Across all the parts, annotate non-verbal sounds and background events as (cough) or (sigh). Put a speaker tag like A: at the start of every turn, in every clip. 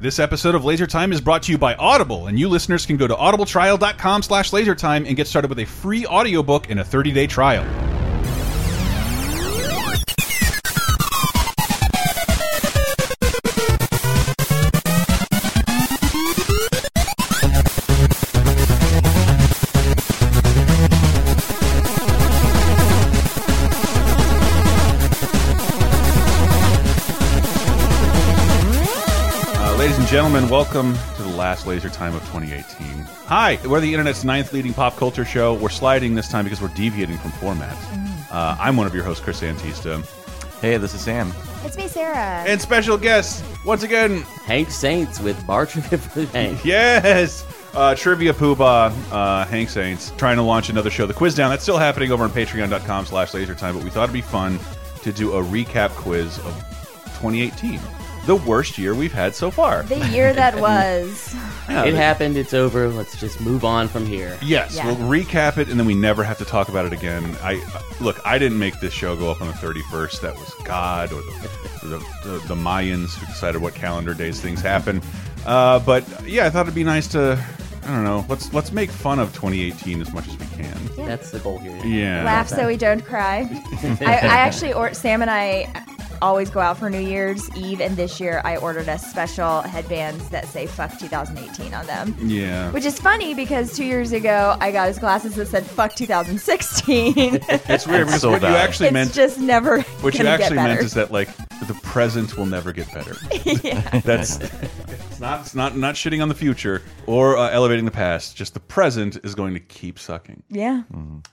A: This episode of Laser Time is brought to you by Audible, and you listeners can go to audibletrial.com slash lasertime and get started with a free audiobook and a 30-day trial. Uh, ladies and gentlemen, welcome to the last Laser Time of 2018. Hi, we're the internet's ninth leading pop culture show. We're sliding this time because we're deviating from format. Uh, I'm one of your hosts, Chris Antista.
B: Hey, this is Sam.
C: It's me, Sarah.
A: And special guest, once again,
D: Hank Saints with March (laughs) of
A: (laughs)
D: Hank.
A: Yes! Uh, Trivia Poobah, uh, Hank Saints, trying to launch another show, The Quiz Down. That's still happening over on patreon.com slash lasertime, but we thought it'd be fun to do a recap quiz of 2018, the worst year we've had so far.
C: the
A: (laughs)
C: year that was.
D: It happened. It's over. Let's just move on from here.
A: Yes,
C: Yeah.
A: we'll recap it, and then we never have to talk about it again. I look, I didn't make this show go up on the thirty first. That was God or the, the, the, the Mayans who decided what calendar days things happen. Uh, but yeah, I thought it'd be nice to, I don't know, let's let's make fun of 2018 as much as we can.
C: Yeah.
D: That's the goal here.
A: Yeah,
C: Laugh so we
A: (laughs)
C: don't cry. I, I actually, or Sam and I always go out for New Year's Eve, and this year I ordered us special headbands that say fuck 2018 on them.
A: yeah.
C: Which is funny because two years ago I got his glasses that said
A: (laughs)
C: fuck 2016.
A: It's weird
B: That's
A: because
B: so
A: what you
B: valid.
A: actually
C: it's
A: meant,
C: just never.
A: what you
C: gonna get
A: actually meant
C: better.
A: is that like the present will never get better.
C: (laughs) yeah.
A: That's it's not it's not not shitting on the future or uh, elevating the past. Just the present is going to keep sucking.
C: Yeah.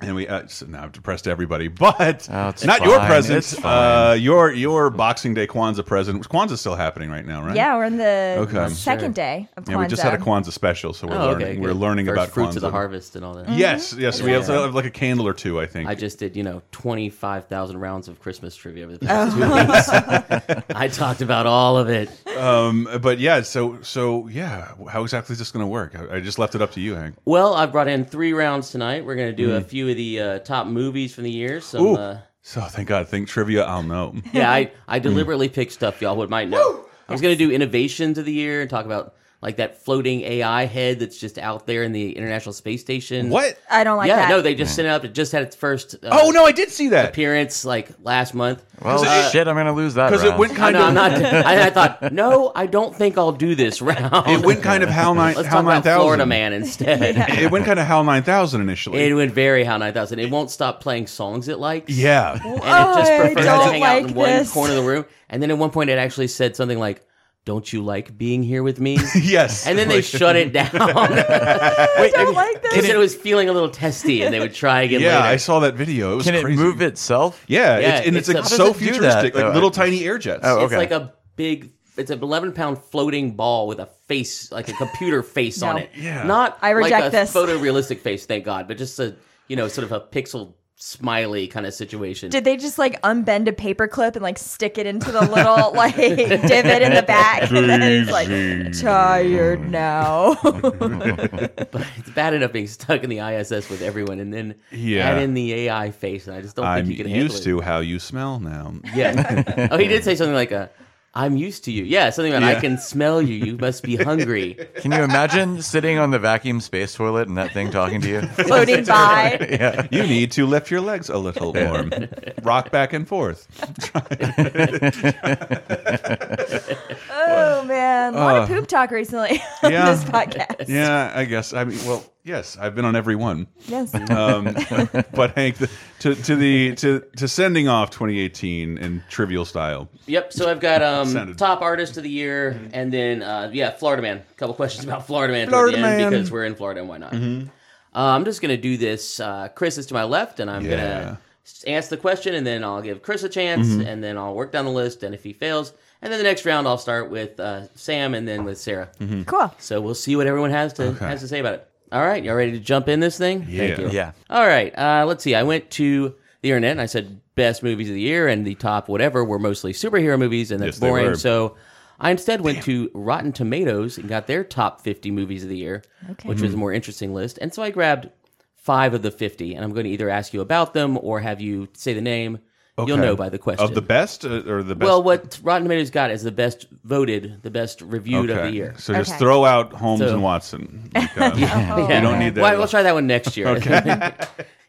A: And we uh, so now I've depressed everybody, (laughs) but
B: Oh, it's
A: not your
B: fine.
A: present.
B: It's fine.
A: Uh, your your Boxing Day Kwanzaa present. Which Kwanzaa's still happening right now, right?
C: Yeah, we're in the
A: Okay.
C: second day of Kwanzaa.
A: Yeah, we just had a Kwanzaa special, so we're
D: Oh,
A: learning.
D: okay.
A: We're
D: good.
A: learning
D: First
A: about
D: fruits
A: Kwanzaa.
D: of the harvest and all that.
A: Yes, yes. We
D: Yeah.
A: also have like a candle or two, I think.
D: I just did, you know, 25,000 rounds of Christmas trivia
A: (laughs)
D: over the past two weeks. I talked about all of it.
A: um, but yeah, so so yeah. How exactly is this going to work? I, I just left it up to you, Hank.
D: Well, I've brought in three rounds tonight. We're going to do a few of the uh, top movies from the year. Some,
A: Mm. Ooh.
D: uh,
A: so thank God. Think trivia. I'll
D: (laughs)
A: know.
D: yeah, I, I deliberately picked stuff y'all would might know. I was going to do innovations of the year and talk about like that floating AI head that's just out there in the International Space Station.
A: What?
C: I don't like
D: yeah,
C: that.
D: no, they just sent it up. It just had its first uh,
A: Oh no, I did see that.
D: appearance like last month.
B: Well,
A: it-
B: shit, I'm gonna lose that
A: Because
B: round.
A: uh, it went
D: I
A: kind
D: know,
A: of
D: I'm not. (laughs) I, I thought, no, I don't think I'll do this round.
A: it went kind of how nine
D: Let's
A: how
D: talk
A: nine
D: about Florida
A: thousand.
C: (laughs)
D: Man instead.
A: It went kind of how nine thousand initially.
D: It went very how nine thousand. It won't stop playing songs it likes. (laughs)
A: yeah.
D: and it just
C: Oh, I
D: prefers to
C: don't
D: hang out
C: like
D: in one
C: this.
D: corner of the room. And then at one point, it actually said something like, "Don't you like being here with me?"
A: (laughs) yes.
D: And then they
A: Like-
D: shut
A: (laughs)
D: it down. Wait,
C: I don't like
D: They
C: this.
D: said it was feeling a little testy, and they would try again
A: Yeah, I
D: later.
A: saw that video. It was
B: Can it
A: crazy.
B: move itself?
A: Yeah,
D: Yeah,
A: it's, and it's,
D: it's a-
A: like
D: How does
A: so
B: it do that,
A: futuristic, like
B: though?
A: little tiny air jets.
B: Oh,
D: It's
B: okay.
D: like a big. It's an 11 pound floating ball with a face, like a computer face on
C: No.
D: it.
A: Yeah.
D: Not
C: I
D: like
C: reject
D: a
C: this.
D: photorealistic face, thank God, but just a, you know, sort of a pixel smiley kind of situation.
C: Did they just like unbend a paperclip and like stick it into the little (laughs) like divot in the back? (laughs) And then it's like
A: (laughs)
C: tired now. (laughs)
D: but it's bad enough being stuck in the ISS with everyone and then
A: Yeah.
D: add in the AI face, and I just don't
A: I'm
D: think you can handle
A: used
D: it.
A: to how you smell
D: (laughs)
A: now. (laughs)
D: Yeah. oh, he did say something like, uh, I'm used to you. Yeah, something about
A: Yeah.
D: I can smell you. You must
A: (laughs)
D: be hungry.
B: Can you imagine (laughs) sitting on the vacuum space toilet and that thing talking to you?
A: (laughs)
C: Floating by.
B: yeah.
A: You need to lift your legs a little
D: (laughs)
A: more, rock back and forth.
C: Oh man. A lot of poop talk recently (laughs) on
A: Uh, Yeah.
C: this podcast.
A: Yeah, I guess. I mean, well, yes, I've been on every one.
C: Yes. (laughs)
A: Um, but Hank, the, to to the to to sending off 2018 in trivial style.
D: Yep. So I've got um,
A: Sounded-
D: top artist of the year, and then uh, yeah, Florida Man. A couple questions about Florida Man.
A: Florida
D: Florida Man
A: Man. Mm-hmm.
D: because we're in Florida and why not? Uh, I'm just gonna do this. Uh, Chris is to my left, and I'm gonna s- answer the question, and then I'll give Chris a chance,
A: Mm-hmm.
D: and then I'll work down the list, and if he fails, and then the next round I'll start with uh, Sam, and then with Sarah.
A: Mm-hmm.
C: Cool.
D: So we'll see what everyone has to has to say about it. All right, y'all ready to jump in this thing?
A: Yeah.
B: Yeah.
D: All right. Uh, let's see. I went to the internet and I said best movies of the year, and the top whatever were mostly superhero movies, and that's
A: Yes, they were.
D: boring. So I instead went to Rotten Tomatoes and got their top 50 movies of the year, which
A: Hmm.
D: was a more interesting list. And so I grabbed five of the 50, and I'm going to either ask you about them or have you say the name
A: Okay.
D: You'll know by the question.
A: Of the best uh, or the best?
D: well, what Rotten Tomatoes got is the best voted, the best reviewed of the year.
A: So just
C: Okay.
A: throw out Holmes
D: So-
A: and
C: (laughs)
A: Watson. Like, uh,
C: Oh.
A: You don't need that.
D: Well,
A: at all.
D: we'll try that one next year.
A: Okay.
D: (laughs)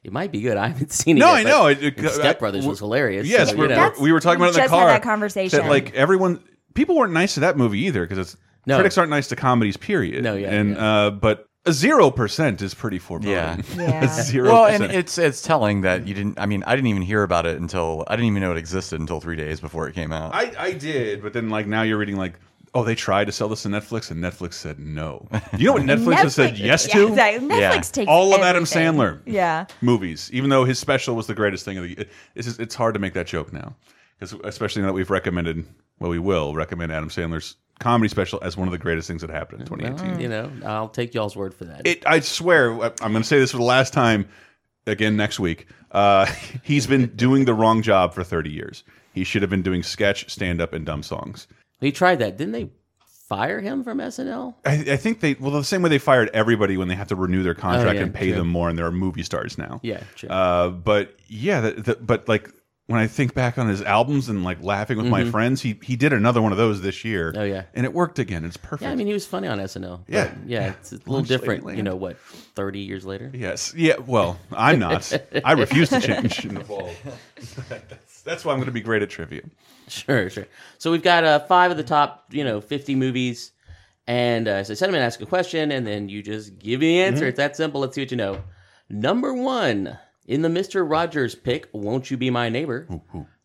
D: it might be good. I haven't seen it.
A: No,
D: yet,
A: I
D: but
A: know. It- it-
D: and Step Brothers
A: I-
D: was hilarious.
A: Yes,
D: so, you
A: we're,
D: know.
C: That's-
A: we were talking about it in the
C: just had
A: car.
C: that conversation.
A: That like everyone, people weren't nice to that movie either because it's
D: No.
A: critics aren't nice to comedies. Period.
D: No, yeah,
A: and
D: yeah.
A: uh, but a zero percent is pretty (laughs) foreboding.
C: Yeah.
A: zero.
B: Well, and
A: percent.
B: it's it's telling that you didn't. I mean, I didn't even hear about it until I didn't even know it existed until three days before it came out.
A: I I did, but then like now you're reading like. Oh, they tried to sell this to Netflix, and Netflix said no. You know what Netflix, has said yes
C: yeah,
A: to?
C: exactly. Netflix
B: Yeah.
C: takes
A: All of Adam
C: everything.
A: Sandler.
C: Yeah.
A: movies, even though his special was the greatest thing of the year. It's, just, it's hard to make that joke now, because especially now that we've recommended, well, we will recommend Adam Sandler's comedy special as one of the greatest things that happened in 2018.
D: you know, I'll take y'all's word for that.
A: It, I swear, I- I'm going to say this for the last time again next week. Uh, (laughs) he's been doing the wrong job for 30 years. He should have been doing sketch, stand up, and dumb songs.
D: he tried that, didn't they? Fire him from SNL?
A: I, I think they, well, the same way they fired everybody when they have to renew their contract
D: Oh, yeah,
A: and pay
D: true.
A: them more, and there are movie stars now.
D: Yeah, true.
A: Uh, but yeah, the, the, but like when I think back on his albums and like laughing with my friends, he he did another one of those this year.
D: Mm-hmm. Oh, yeah.
A: and it worked again. It's perfect.
D: yeah, I mean, he was funny on SNL. but
A: Yeah.
D: yeah, it's a little
A: Lunch Lady
D: different. You
A: Land.
D: know what? Thirty years later.
A: yes, yeah. Well, I'm
D: (laughs)
A: not. I refuse to change and evolve. (laughs) that's, that's why I'm going to be great at trivia.
D: Sure, sure. So we've got uh, five of the top, you know, fifty movies, and uh, so sentiment ask a question, and then you just give me the
A: Mm-hmm.
D: answer. It's that simple. Let's see what you know. Number one in the Mister Rogers pick, "Won't You Be My Neighbor?"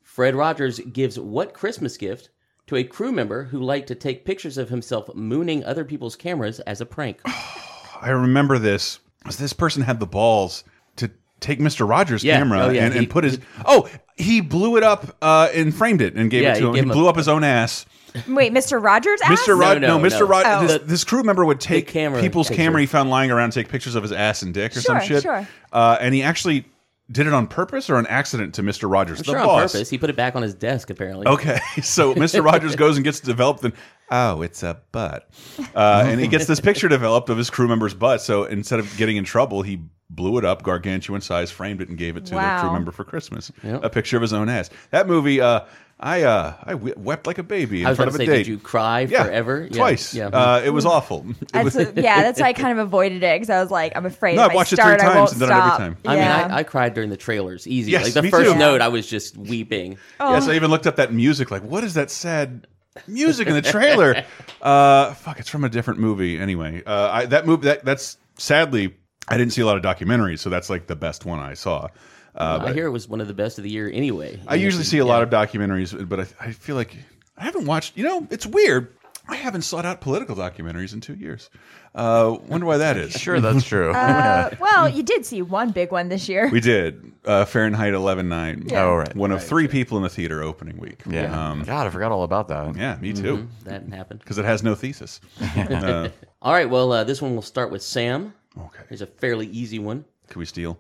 D: Fred Rogers gives what Christmas gift to a crew member who liked to take pictures of himself mooning other people's cameras as a prank?
A: Oh, I remember this. 'cause This person had the balls to take Mr. Rogers'
D: Yeah.
A: camera
D: Oh, yeah.
A: and,
D: He-
A: and put his. Oh, he blew it up uh, and framed it and gave
D: Yeah,
A: it
D: he
A: to him. He,
D: gave him a-
A: blew up his own ass.
C: Wait, Mr. Rogers asked?
A: Mr. Rod,
D: no,
A: no, Mr.
D: no.
A: Rod,
C: Oh.
A: this, this crew member would take
D: camera
A: people's
D: picture.
A: camera he found lying around, and take pictures of his ass and dick or some
C: Sure,
A: shit.
C: sure.
A: Uh, and he actually did it on purpose or an accident to Mr. Rogers, the
D: sure, on
A: boss.
D: purpose. He put it back on his desk, apparently.
A: Okay, (laughs) so Mr. Rogers goes and gets it developed, and oh, it's a butt, uh, and he gets this picture developed of his crew member's butt. So instead of getting in trouble, he blew it up, gargantuan size, framed it, and gave it to the crew
C: Wow.
A: member for Christmas.
D: Yep.
A: A picture of his own ass. That movie, uh, I uh, I we- wept like a baby in
D: I was
A: front of
D: about to
A: a
D: say,
A: date.
D: did you cry
A: Yeah,
D: forever? Yeah,
A: twice.
D: Yeah.
A: Uh, it was awful. It was,
C: That's yeah, that's why I kind of avoided it because I was like, I'm afraid
A: No,
C: if
A: I've
C: I
A: watched it three
C: start, I
A: times
C: won't
A: and done it every
C: stop.
A: time.
D: I
C: yeah.
D: mean, I, I cried during the trailers, easy.
A: Yes,
D: like the
A: me
D: first
A: too.
D: note, I was just weeping.
A: Yes,
B: Oh.
A: I even looked up that music. Like, what is that sad music in the
B: (laughs)
A: trailer? uh, fuck, it's from a different movie. Anyway, uh, I, that movie that that's sadly I didn't see a lot of documentaries, so that's like the best one I saw. Uh,
D: I hear it was one of the best of the year anyway.
A: I usually see a lot of documentaries, but I, I feel like I haven't watched. You know, it's weird. I haven't sought out political documentaries in two years. Uh, wonder why that is.
B: (laughs) sure, that's true.
C: Uh, well, you did see one big one this year.
A: We did uh, Fahrenheit 11.9.
C: Yeah.
B: Oh, right.
A: One of three people in the theater opening week.
B: yeah. Mm-hmm.
A: Um,
B: God, I forgot all about that.
A: yeah, me too.
D: That happened.
A: Because it has no thesis.
B: (laughs)
A: Uh,
D: All right, well, uh, this one will start with Sam.
A: okay.
D: Here's a fairly easy one.
A: Can we steal?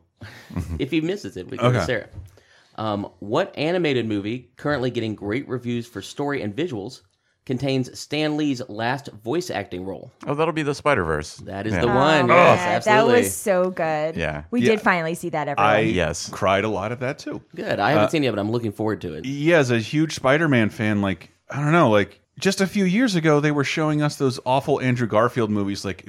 D: If he misses it, we go
A: Okay.
D: to Sarah. Um, what animated movie, currently getting great reviews for story and visuals, contains Stan Lee's last voice acting role?
B: Oh, that'll be the Spider Verse.
D: That is
B: yeah.
D: the
C: Oh,
D: one.
C: yeah,
D: Yes,
C: that
D: absolutely.
C: was so good.
B: Yeah.
C: we
A: Yeah.
C: did finally see that. Everyone,
A: I
B: Yes.
A: cried a lot of that too.
D: Good. I
A: Uh,
D: haven't seen it, yet, but I'm looking forward to it.
A: Yeah, as a huge Spider Man fan, like, I don't know, like, just a few years ago, they were showing us those awful Andrew Garfield movies. Like,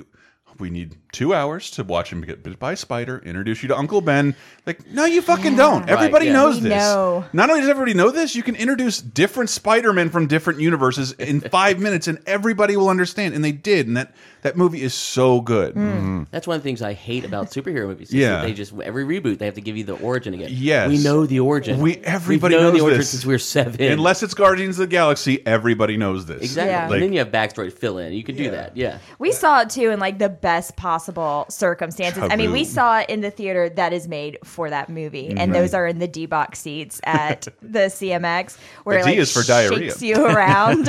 A: we need two hours to watch him get bit by a spider, introduce you to Uncle Ben. Like, no, you fucking don't. Everybody
D: yeah.
A: knows
C: We
A: this.
C: know.
A: Not only does everybody know this, you can introduce different Spider Men from different universes
D: (laughs)
A: in five minutes, and everybody will understand. And they did. And that, that movie is so good.
D: That's one of the things I
A: (laughs)
D: hate about superhero movies. is
A: Yeah.
D: that they just every reboot they have to give you the origin again.
A: Yes.
D: we know the origin.
A: We- everybody
D: We've known
A: knows
D: the origin
A: this.
D: since we were seven.
A: Unless it's Guardians of the Galaxy, everybody knows this.
D: exactly.
C: Yeah.
A: Like-
D: and then you have backstory to fill in. You can do that. Yeah,
C: we saw it too in like the best possible circumstances. I mean, we
A: Taboo.
C: saw it in the theater that is made for that movie, and those are in the D box seats
A: (laughs)
C: at the CMX, where
A: The
C: it
A: D
C: like
A: is for diarrhea.
C: shakes you around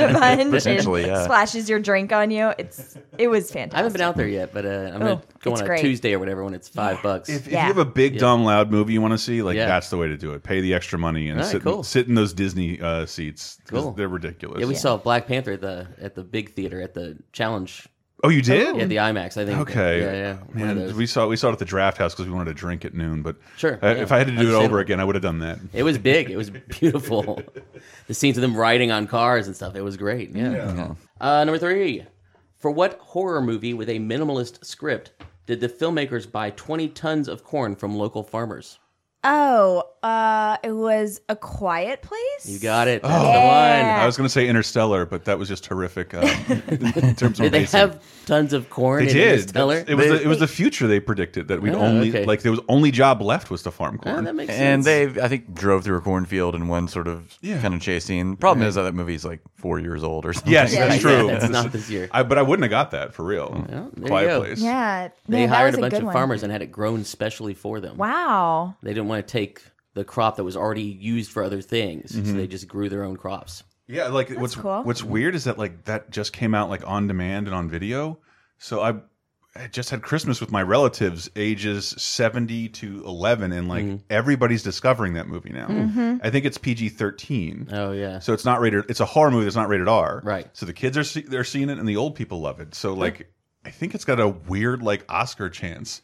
A: (laughs)
C: a bunch,
B: Potentially,
C: and
B: yeah.
C: splashes your drink on you. It's it was fantastic.
D: I haven't been out there yet, but uh, I'm
C: Oh,
D: gonna go
C: it's
D: on a
C: great.
D: Tuesday or whatever when it's five bucks.
A: If, if
C: Yeah.
A: you have a big, dumb, loud movie you want to see, like
D: Yeah.
A: that's the way to do it. Pay the extra money and
D: All right,
A: sit,
D: cool.
A: sit in those Disney uh, seats. 'cause
D: Cool.
A: They're ridiculous.
D: yeah, we saw Black Panther at the at the big theater at the Challenge
A: Oh, you did?
D: Yeah, the IMAX. I think.
A: Okay.
D: Yeah, yeah. one of
A: Man,
D: those.
A: we saw we saw it at the draft house because we wanted to drink at noon. But
D: Sure,
A: uh,
D: yeah.
A: if I had to do it over
D: Understandable.
A: again, I would have done that.
D: It was
A: (laughs)
D: big. It was beautiful. the scenes of them riding on cars and stuff. It was great. Yeah. Uh, number three. For what horror movie with a minimalist script did the filmmakers buy 20 tons of corn from local farmers?
C: Oh, uh, it was a quiet place.
D: You got it. That's the
C: Yeah.
D: one.
A: I was going to say Interstellar, but that was just terrific uh,
D: (laughs)
A: in terms of
D: Did they
A: pacing.
D: have tons of corn
A: They
D: in
A: did.
D: Interstellar?
A: It was the, it was the future they predicted that we'd
D: Oh,
A: only
D: okay.
A: like there was only job left was to farm
D: Ah,
A: corn.
D: that makes
B: And
D: sense. (laughs)
B: they, I think, drove through a cornfield in one sort of
A: Yeah.
B: kind of chase scene. Problem is that that movie's like four years old or (laughs) something.
A: yes,
C: Yeah,
A: that's
C: yeah,
A: true.
D: it's (laughs) not this year.
A: I, but I wouldn't have got that for real.
D: Well, there you
A: Quiet
D: go.
A: place.
C: Yeah.
D: They
C: yeah, that
D: hired
C: was
D: a bunch
C: good
D: of
C: one.
D: farmers and had it grown specially for them.
C: Wow.
D: They didn't want to take the crop that was already used for other things, so
A: Mm-hmm.
D: they just grew their own crops.
A: Yeah, like what's
C: cool.
A: what's weird is that like that just came out like on demand and on video. So I, I just had Christmas with my relatives, ages seventy to eleven, and like
D: Mm-hmm.
A: everybody's discovering that movie now.
C: Mm-hmm.
A: I think it's PG thirteen.
D: Oh yeah.
A: So it's not rated. It's a horror movie that's not rated R.
D: Right.
A: So the kids are see, they're seeing it, and the old people love it. So like, I think it's got a weird like Oscar chance,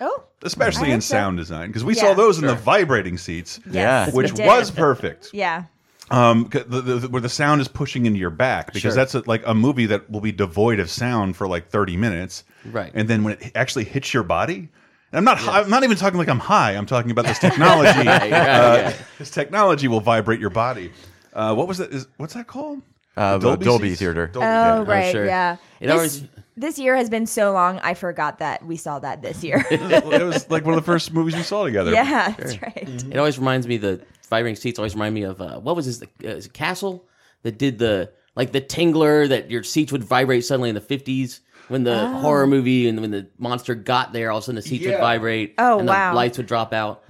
C: Oh. I
A: especially
C: hope
A: in
C: so.
A: sound design because we
C: Yeah.
A: saw those in the vibrating seats,
B: Yeah.
C: Yes,
A: which
C: we did.
A: was perfect.
C: Yeah.
A: Um, c- the, the, where the sound is pushing into your back because
D: Sure.
A: that's a, like a movie that will be devoid of sound for like thirty minutes,
D: Right.
A: And then when it actually hits your body, and I'm not hi- I'm not even talking like I'm high. I'm talking about this
D: (laughs)
A: technology.
D: Right, right,
A: uh,
D: yeah.
A: This technology will vibrate your body. Uh, what was that? Is what's that called?
B: Uh,
A: The
B: Dolby
A: seats?
B: Theater.
A: Dolby,
C: Oh,
A: yeah.
C: right.
D: sure.
C: Yeah.
D: It
C: this,
D: always-
C: this year has been so long, I forgot that we saw that this
D: (laughs)
C: year.
A: it was like one of the first movies we saw together.
C: yeah, that's right.
D: It always reminds me the vibrating seats always remind me of uh, what was this the, uh, is it Castle that did the like the tingler that your seats would vibrate suddenly in the fifties when the
C: Oh.
D: horror movie and when the monster got there all of a sudden the seats
A: Yeah.
D: would vibrate
C: Oh,
D: and
C: wow.
D: the lights would drop out.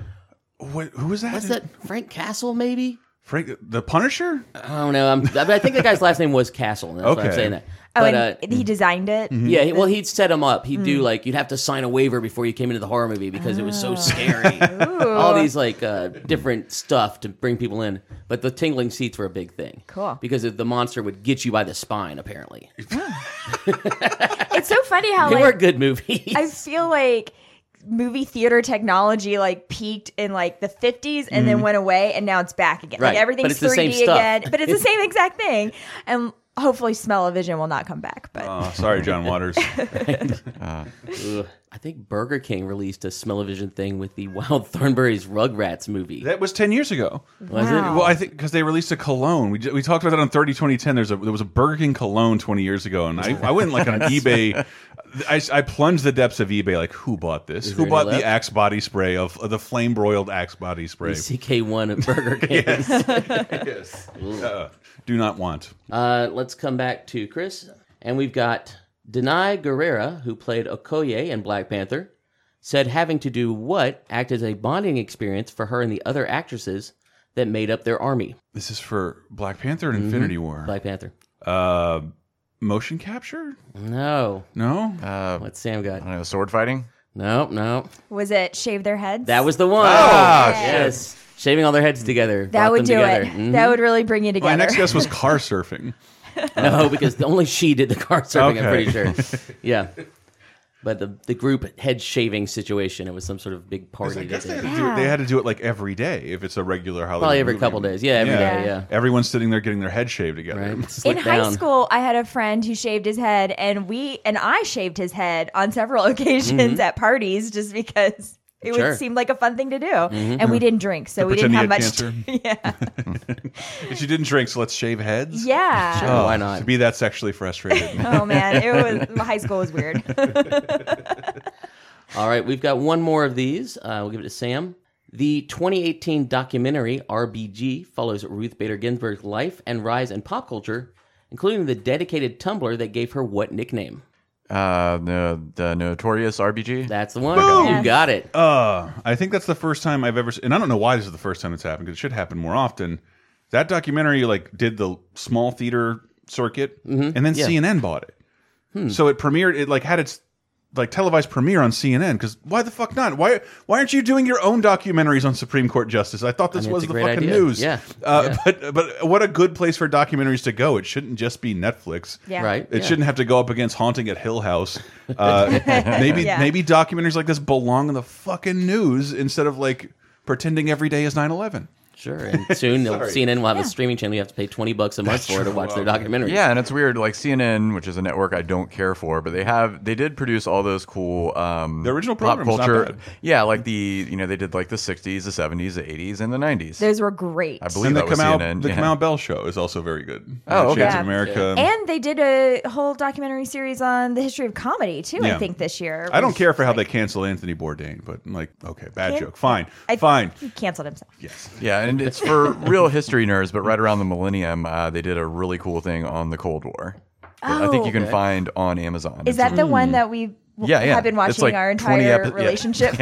A: What, who was that?
D: What's that Frank Castle maybe?
A: Frank, the Punisher?
D: I don't know. I'm, I, mean, I think the guy's last name was Castle. and That's why I'm
A: Okay.
D: saying that.
C: Oh,
D: But, uh,
C: and he designed it.
D: Yeah, he- well, he'd set him up. He'd
C: Mm.
D: do like you'd have to sign a waiver before you came into the horror movie because it
C: Ah.
D: was so scary. All these like uh, different stuff to bring people in, but the tingling seats were a big thing.
C: Cool.
D: because if the monster would get you by the spine. Apparently,
C: It's so funny how
D: (laughs) they were
C: like
D: good movies.
C: (laughs) I feel like movie theater technology like peaked in like the 50s and then went away and now it's back again.
D: Mm-hmm. Right,
C: Like
D: but
C: everything's
D: it's the same
C: 3D
D: stuff.
C: again, but
D: (laughs)
C: it's the same exact thing. And hopefully smell-o-vision will not come back,
D: Uh.
C: but
A: Oh, sorry,
D: (laughs)
A: John Waters.
D: Ugh. I think Burger King released a smell-o-vision thing with the Wild (laughs) Thornberry's Rugrats movie.
A: that was 10 years ago.
D: Was it?
C: Wow.
A: Well, I think because they released a cologne. We, ju- we talked about that on 30 2010. There's a, there was a Burger King cologne 20 years ago, and I, I went like
D: (laughs)
A: on eBay. I, I plunged the depths of eBay, like, who bought this? who
D: there
A: bought
D: any
A: the
D: left?
A: axe body spray of of the flame broiled axe body spray?
D: CK1 at Burger King.
A: (laughs) yes. Uh, do not want.
D: Uh, let's come back to Chris. And we've got Denai Guerrera, who played Okoye in Black Panther, said having to do what acted as a bonding experience for her and the other actresses that made up their army.
A: This is for Black Panther and
D: Mm-hmm.
A: Infinity War.
D: Black Panther.
A: uh, motion capture?
D: No.
A: No.
B: Uh,
D: What's Sam
B: I
D: got?
B: don't know, sword fighting.
D: No, no.
C: was it shave their heads?
D: That was the one.
A: Ah,
D: yes. Shaving all their heads together. Mm-hmm.
C: that would do it. That would really bring you
A: My
C: together.
A: next guess was car
D: (laughs)
A: surfing.
D: No, because the- only she did the car surfing, I'm
A: Okay.
D: pretty sure. Yeah. But the, the group head shaving situation, it was some sort of big party.
A: I guess
D: that
A: they
D: they-
A: had, to do it, they had to do it like every day if it's a regular holiday.
D: Probably every couple days. Yeah, every day.
A: Yeah.
D: yeah.
A: Everyone's sitting there getting their head shaved together.
D: Right.
C: in
D: Slick
C: high
D: down.
C: school, I had a friend who shaved his head, and we and I shaved his head on several (laughs) occasions at parties just because it
D: Mm-hmm. Sure. Mm-hmm.
C: would seem like a fun thing to do. And we didn't drink, so we didn't
A: pretend
C: have much.
A: he had
C: yeah,
A: If you didn't drink, so let's shave heads.
C: (laughs) yeah.
D: Sure, Oh, why
A: To
D: not?
A: be that sexually frustrated.
C: Oh man, it was high school was weird. (laughs)
D: All right, we've got one more of these. Uh, we'll give it to Sam. The 2018 documentary RBG follows Ruth Bader Ginsburg's life and rise in pop culture, including the dedicated Tumblr that gave her what nickname?
B: Uh, the, the notorious RBG.
D: That's the one.
C: Yes.
D: You got it.
A: uh, I think that's the first time I've ever, s- and I don't know why this is the first time it's happened because it should happen more often. That documentary like did the small
D: Mm-hmm. Hmm.
A: theater circuit, and then CNN bought it. So it premiered. It like had its like televised premiere on CNN because why the fuck not? Why why aren't you doing your own documentaries on Supreme Court justice? I thought this
D: I mean,
A: was
D: it's
A: the
D: a
A: fucking
D: great idea.
A: news.
D: Yeah.
A: Uh,
D: Yeah.
A: But but what a good place for documentaries to go. It shouldn't just be Netflix.
C: Yeah.
D: Right.
A: It
D: yeah.
A: shouldn't have to go up against Haunting at Hill
C: (laughs)
A: House. Uh, maybe
C: Yeah.
A: maybe documentaries like this belong in the fucking news instead of like pretending every day is 9-11.
D: Sure. And soon
C: (laughs)
D: they'll-
A: Sorry.
D: CNN will have
C: Yeah.
D: a streaming channel. You have to pay 20 bucks a month
A: That's
D: for to
A: true.
D: watch their
A: Wow.
D: documentary.
B: Yeah, and it's weird. Like CNN, which is a network I don't care for, but they have they did produce all those cool um,
A: The original
B: pop
A: program's not
B: culture.
A: bad.
B: Yeah, like the you know they did like the '60s, the '70s, the '80s, and the '90s.
C: Those were great.
B: I believe
A: And the
B: that was
A: Kamau,
B: CNN.
A: the
B: yeah.
A: Kamau Bell show is also very good.
B: Oh,
A: Uh,
B: okay.
A: Shades
C: Yeah.
A: of America.
C: And they did a whole documentary series on the history of comedy too.
A: Yeah.
C: I think this year.
A: I don't care for how they cancel Anthony Bourdain, but I'm like, okay, bad
C: Can-
A: joke. Fine,
C: I-
A: fine.
C: He canceled himself.
A: Yes.
B: Yeah, and
A: (laughs)
B: it's for real history nerds. But right around the millennium, uh, they did a really cool thing on the Cold War. that I think
C: Oh.
B: you can
D: Okay.
B: find on Amazon.
C: Is
B: It's
C: that the
D: Mm.
C: one that we w-
B: Yeah, yeah.
C: have been
B: It's
C: watching
B: like
C: our
B: 20
C: entire
B: epi- (laughs) yeah. (laughs)
C: relationship?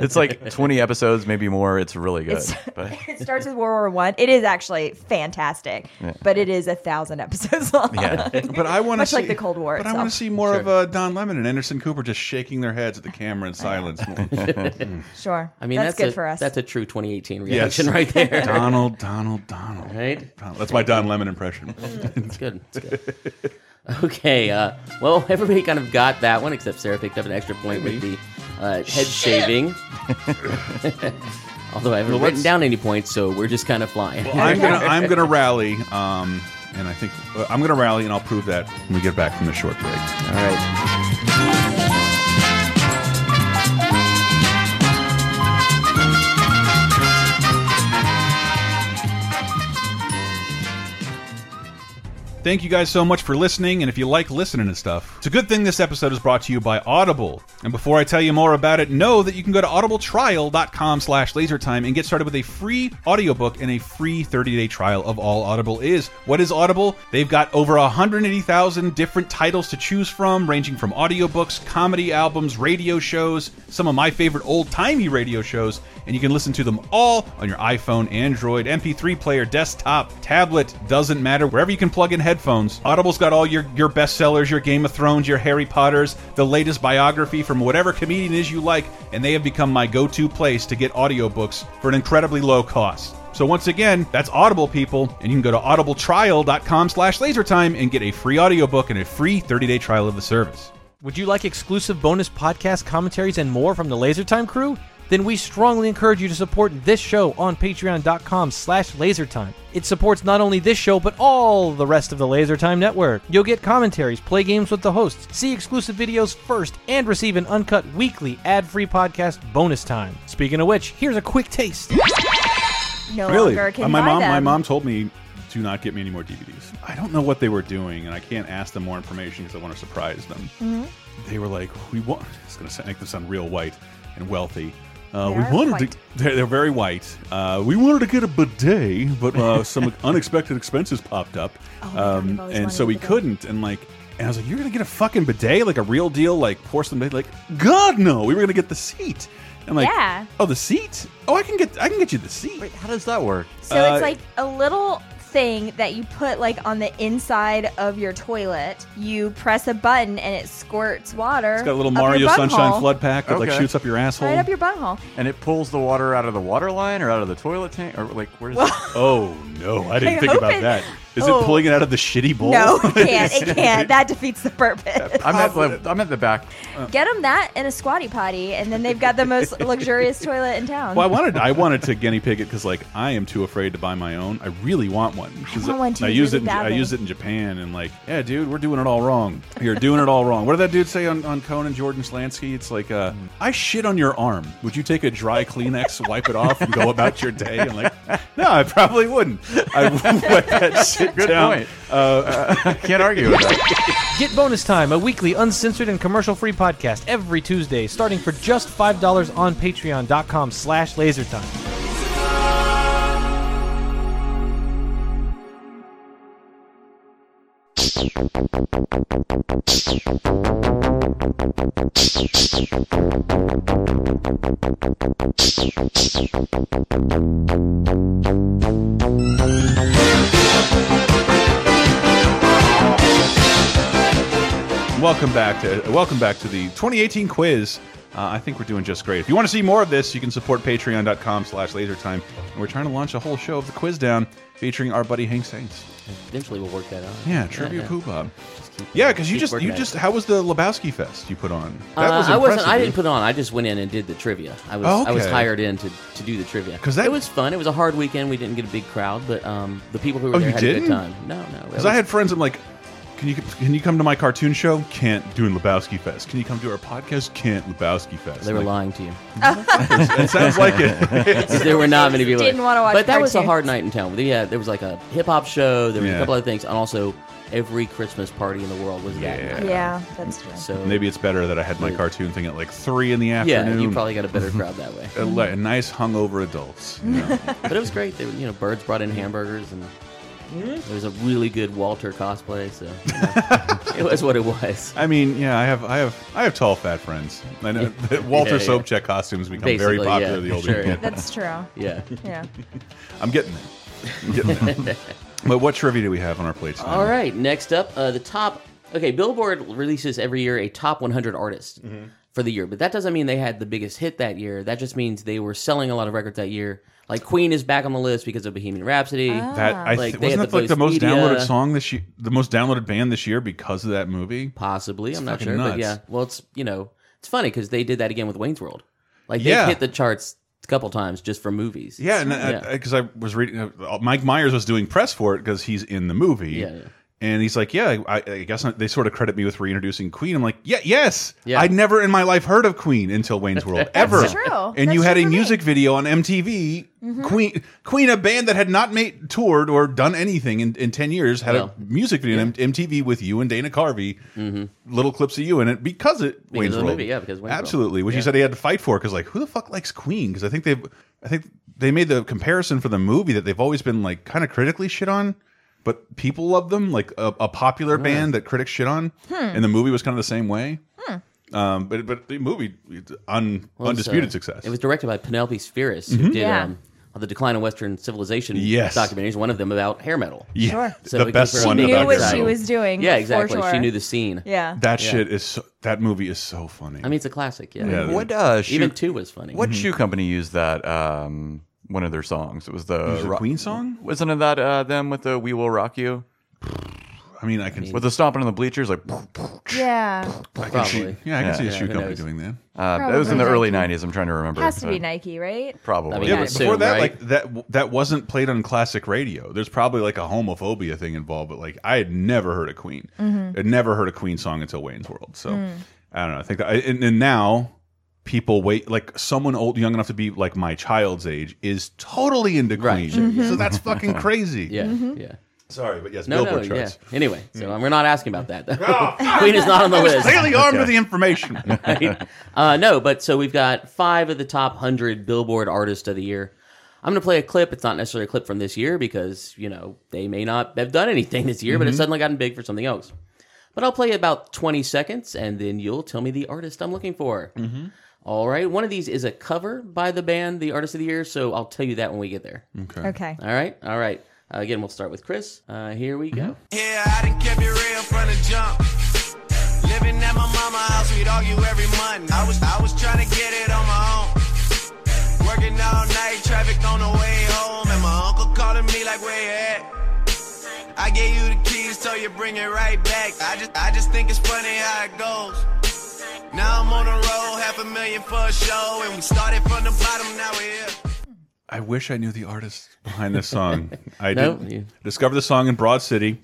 B: it's like 20 episodes, maybe more. It's really good.
C: It's- (laughs)
B: but
C: it starts with World War One. It is actually fantastic, but it is a thousand episodes (laughs) long.
B: yeah,
A: But I want to
C: Much
A: see,
C: like the Cold War
A: But I want to
C: itself.
A: see more of uh, Don Lemon and Anderson Cooper just shaking their heads at the camera
C: (laughs)
A: in silence.
C: Sure.
D: I mean,
C: that's,
D: that's,
C: good
D: a,
C: for us.
D: That's a true 2018 reaction (laughs)
A: Yes.
C: (laughs)
D: right there.
A: Donald, Donald, Donald.
D: Right?
A: Donald. That's my Don Lemon impression.
D: It's good. It's good. Okay. Uh, well, everybody kind of got that one, except Sarah picked up an extra point with the uh, head shaving. Although I haven't written
A: let's-
D: down any points, so we're just kind of flying.
A: I'm gonna, I'm (laughs) gonna rally, um, and I think uh, I'm gonna rally, and I'll prove that when we get back from the short break.
D: (laughs) All right.
A: Thank you guys so much for listening, and if you like listening to stuff, it's a good thing this episode is brought to you by Audible. And before I tell you more about it, know that you can go to audibletrial.com slash lasertime and get started with a free audiobook and a free 30-day trial of all Audible is. What is Audible? They've got over 180,000 different titles to choose from, ranging from audiobooks, comedy albums, radio shows, some of my favorite old-timey radio shows, and you can listen to them all on your iPhone, Android, MP3 player, desktop, tablet, doesn't matter. Wherever you can plug in headphones, Audible's got all your, your bestsellers, your Game of Thrones, your Harry Potters, the latest biography from whatever comedian is you like, and they have become my go to place to get audiobooks for an incredibly low cost. So once again, that's Audible people, and you can go to audibletrial.com slash lasertime and get a free audiobook and a free 30-day trial of the service.
E: Would you like exclusive bonus podcast commentaries and more from the LaserTime crew? Then we strongly encourage you to support this show on patreon.com slash lasertime. It supports not only this show, but all the rest of the LaserTime network. You'll get commentaries, play games with the hosts, see exclusive videos first, and receive an uncut weekly ad-free podcast bonus time. Speaking of which, here's a quick taste.
C: no
A: Really?
C: longer can
A: Uh, my
C: buy
A: mom,
C: them.
A: my mom told me to not get me any more DVDs. I don't know what they were doing, and I can't ask them more information because I want to surprise them.
C: Mm-hmm.
A: They were like, "We want." (laughs) It's going to make them sound real white and wealthy. Uh,
C: They
A: we
C: are
A: wanted
C: white.
A: to. They're, they're very white. Uh, we wanted to get a bidet, but
C: (laughs)
A: uh, some unexpected expenses popped up,
C: Oh
A: um,
C: my God, I've always
A: and
C: wanted
A: so
C: a
A: we
C: bidet.
A: couldn't. And like. And I was like, "You're gonna get a fucking bidet, like a real deal, like porcelain bidet." Like, God no, we were gonna get the seat. I'm like,
C: Yeah.
A: "Oh, the seat? Oh, I can get, I can get you the seat."
B: wait, how does that work?
C: So
A: Uh,
C: it's like a little thing that you put like on the inside of your toilet. You press a button and it squirts water.
A: It's got a little
C: up your
A: Mario
C: bunghole,
A: Sunshine flood pack that like
B: Okay.
A: shoots up your asshole.
C: right up your bunghole.
B: And it pulls the water out of the water line or out of the toilet tank or like where's that?
A: oh no,
C: (laughs)
A: I didn't
C: I
A: think
C: hope
A: about
C: it-
A: that. Is
C: Oh.
A: it pulling it out of the shitty bowl? (laughs)
C: No, it can't. It can't. That defeats the purpose.
B: I'm at the I'm at the back. (laughs)
C: Get them that in a squatty potty, and then they've got
A: (laughs)
C: the most luxurious toilet in town.
A: well, I wanted I wanted to guinea pig it because like I am too afraid to buy my own. I really want one. 'Cause
C: want one, too.
A: I used
C: Really
A: it. In, I
C: badly.
A: used it in Japan and like, yeah, dude, we're doing it all wrong. You're doing it all wrong. What did that dude say on, on Conan Jordan Slansky? It's like, uh, I shit on your arm. Would you take a dry Kleenex, wipe it off, and go about your day? And like, (laughs) no, I probably wouldn't. I would wipe that shit
B: Good
A: down.
B: point. (laughs) I can't argue with that.
E: Get Bonus Time, a weekly uncensored and commercial-free podcast every Tuesday, starting for just $5 on patreon.com slash lasertime.
A: Welcome back to welcome back to the 2018 quiz. Uh, I think we're doing just great. If you want to see more of this, you can support patreon.com slash lasertime. And we're trying to launch a whole show of the quiz down featuring our buddy Hank Saints.
D: Eventually, we'll work that out.
A: Yeah, trivia poo bob.
D: keep-
A: Yeah, because you
D: keep
A: just
D: working
A: you
D: at it.
A: just how was the Lebowski fest you put on?
D: Uh, I wasn't. I didn't
A: dude.
D: put it on. I just went in and did the trivia. I was.
A: Oh,
D: I was
A: okay.
D: hired in to, to do the trivia.
A: 'Cause that-
D: it was fun. It was a hard weekend. We didn't get a big crowd, but um, the people who were
A: Oh,
D: there
A: you
D: had a
A: didn't?
D: good time. No, no. it
A: Because I
D: was-
A: had friends, I'm like, can you can you come to my cartoon show? Can't doing Lebowski Fest. Can you come to our podcast? Can't Lebowski Fest.
D: They were
A: Like,
D: lying to you.
A: It sounds like
D: (laughs)
A: it.
D: there were not many people.
C: Didn't
D: there.
C: wanna watch
D: But that was a
C: cartoons.
D: hard night in town. Yeah, there was like a hip hop show. There was
A: Yeah.
D: a couple other things, and also every Christmas party in the world was
A: Yeah.
D: that. night.
C: Yeah, that's true.
D: So
A: Maybe it's better that I had my cartoon thing at like three in the
D: yeah,
A: afternoon.
D: you probably got a better crowd
A: (laughs)
D: that way.
A: Uh, like, nice hungover adults. you
D: (laughs)
A: know.
D: But it was great. They, you know, birds brought in hamburgers, and
C: Mm-hmm.
D: there was a really good Walter cosplay. So you know,
A: (laughs)
D: it was what it was.
A: I mean, yeah, I have, I have, I have tall fat friends. I know that Walter
D: Yeah, yeah.
A: Sobchak costumes become very
D: Basically,
A: popular
D: yeah,
A: the older
D: sure,
A: you get.
C: That's true.
D: (laughs) Yeah.
C: Yeah.
A: I'm getting there. I'm getting
D: (laughs)
A: there. but what trivia do we have on our plates?
D: All right. Next up, uh, the top. Okay, Billboard releases every year a top 100 artist
A: Mm-hmm.
D: for the year, but that doesn't mean they had the biggest hit that year. That just means they were selling a lot of records that year. Like Queen is back on the list because of Bohemian Rhapsody.
A: That I th-
D: Like, they
A: wasn't
D: had
A: that
D: the
A: like the most
D: Voice Media.
A: downloaded song this year, the most downloaded band this year because of that movie.
D: Possibly, I'm not
A: fucking
D: sure,
A: nuts.
D: but yeah. Well, it's you know, it's funny because they did that again with Wayne's World. Like they
A: Yeah.
D: have hit the charts a couple times just for movies.
A: Yeah, and uh, because I, was reading, uh, Mike Myers was doing press for it because he's in the movie.
D: Yeah, yeah.
A: And he's like, yeah, I, I guess they sort of credit me with reintroducing Queen. I'm like, yeah, yes,
D: Yeah.
A: I'd never in my life heard of Queen until Wayne's World
D: (laughs)
A: ever.
C: That's true.
A: And
C: That's
A: you
C: true
A: had a
C: for me. Mm-hmm.
A: music video on MTV. Queen, Queen, a band that had not made toured or done anything in, in ten years, had
D: Well, Mm-hmm.
A: a music video on MTV with you and Dana Carvey, little clips of you in it because it Wayne's
D: of the
A: World.
D: movie, yeah, because Wayne's World.
A: absolutely which he said he had to fight for because like who the fuck likes Queen? Because I think they've I think they made the comparison for the movie that they've always been like kind of critically shit on, but people love them like a, a popular
D: Hmm.
A: band that critics shit on, and the movie was kind of the same way. Um, but but the movie it's un,
D: Well, it's,
A: undisputed
D: uh,
A: success. Mm-hmm.
D: It was directed by Penelope Spheris, who did
C: Yeah.
D: um, the Decline of Western Civilization
A: Yes.
D: documentaries. One of them about hair metal.
A: yeah,
C: Sure.
D: So it
A: the
D: gives
A: best
D: her
A: one.
D: a-
C: She
D: About
C: knew what
D: that.
C: she was doing.
D: Yeah,
C: for
D: exactly.
C: Sure.
D: She knew the scene.
C: Yeah.
A: that shit is so, that movie is so funny.
D: I mean, it's a classic. Yeah.
A: Yeah.
B: (laughs) What uh, shoe,
D: Even two was funny.
B: what shoe company used that um, one of their songs? It was the
A: Is it a
B: Ro-
A: Queen song?
B: Wasn't it that uh, them with the "We Will Rock You"
A: I mean, I can
B: with the stomping on the bleachers? Like
C: Yeah.
A: I can see,
D: Probably.
A: yeah, I can
B: Yeah.
A: see a
D: Yeah,
A: shoe
D: who
A: company
D: knows?
A: doing that.
B: uh, that was in the
C: Probably
B: early
C: Nike.
B: '90s. I'm trying to remember.
C: Has to be
B: Uh,
C: Nike, right?
B: Probably.
D: I mean,
A: Yeah,
D: I
A: but
D: assume,
A: before that,
D: right?
A: like that that wasn't played on classic radio. There's probably like a homophobia thing involved, but like I had never heard a Queen.
D: Mm-hmm.
A: I'd never heard a Queen song until Wayne's World. So
D: Mm.
A: I don't know. I think that I, and, and now people wait like someone old young enough to be like my child's age is totally into Queen.
D: Right. Mm-hmm.
A: So that's
D: (laughs)
A: fucking crazy.
D: yeah,
C: Mm-hmm.
D: yeah.
A: Sorry, but yes,
D: No,
A: Billboard
D: no,
A: charts.
D: yeah. Anyway, so um, we're not asking about that. though. (laughs) Queen is not on the list. (laughs)
A: Daily armed with the information.
D: Uh, no, but so we've got five of the top 100 Billboard Artists of the Year. I'm going to play a clip. It's not necessarily a clip from this year because, you know, they may not have done anything (laughs) this year, but
A: Mm-hmm.
D: it's suddenly gotten big for something else. But I'll play about 20 seconds and then you'll tell me the artist I'm looking for.
A: Mm-hmm.
D: All right. One of these is a cover by the band, the Artist of the Year. So I'll tell you that when we get there.
A: Mm.
C: Okay.
D: All right. All right. Uh, again, we'll start with Chris. Uh, here we
A: Mm-hmm.
D: go.
F: Yeah, I done kept it real from the jump. Living at my mama house, we'd argue every month. I was I was trying to get it on my own. Working all night, traffic on the way home, and my uncle calling me like, where you at? I gave you the keys, so you bring it right back. I just I just think it's funny how it goes. Now I'm on the road, half a million for a show, and we started from the bottom, now we're here.
A: I wish I knew the artist behind this
D: (laughs)
A: song. I
D: No,
A: did
D: you-
A: discover the song in Broad City.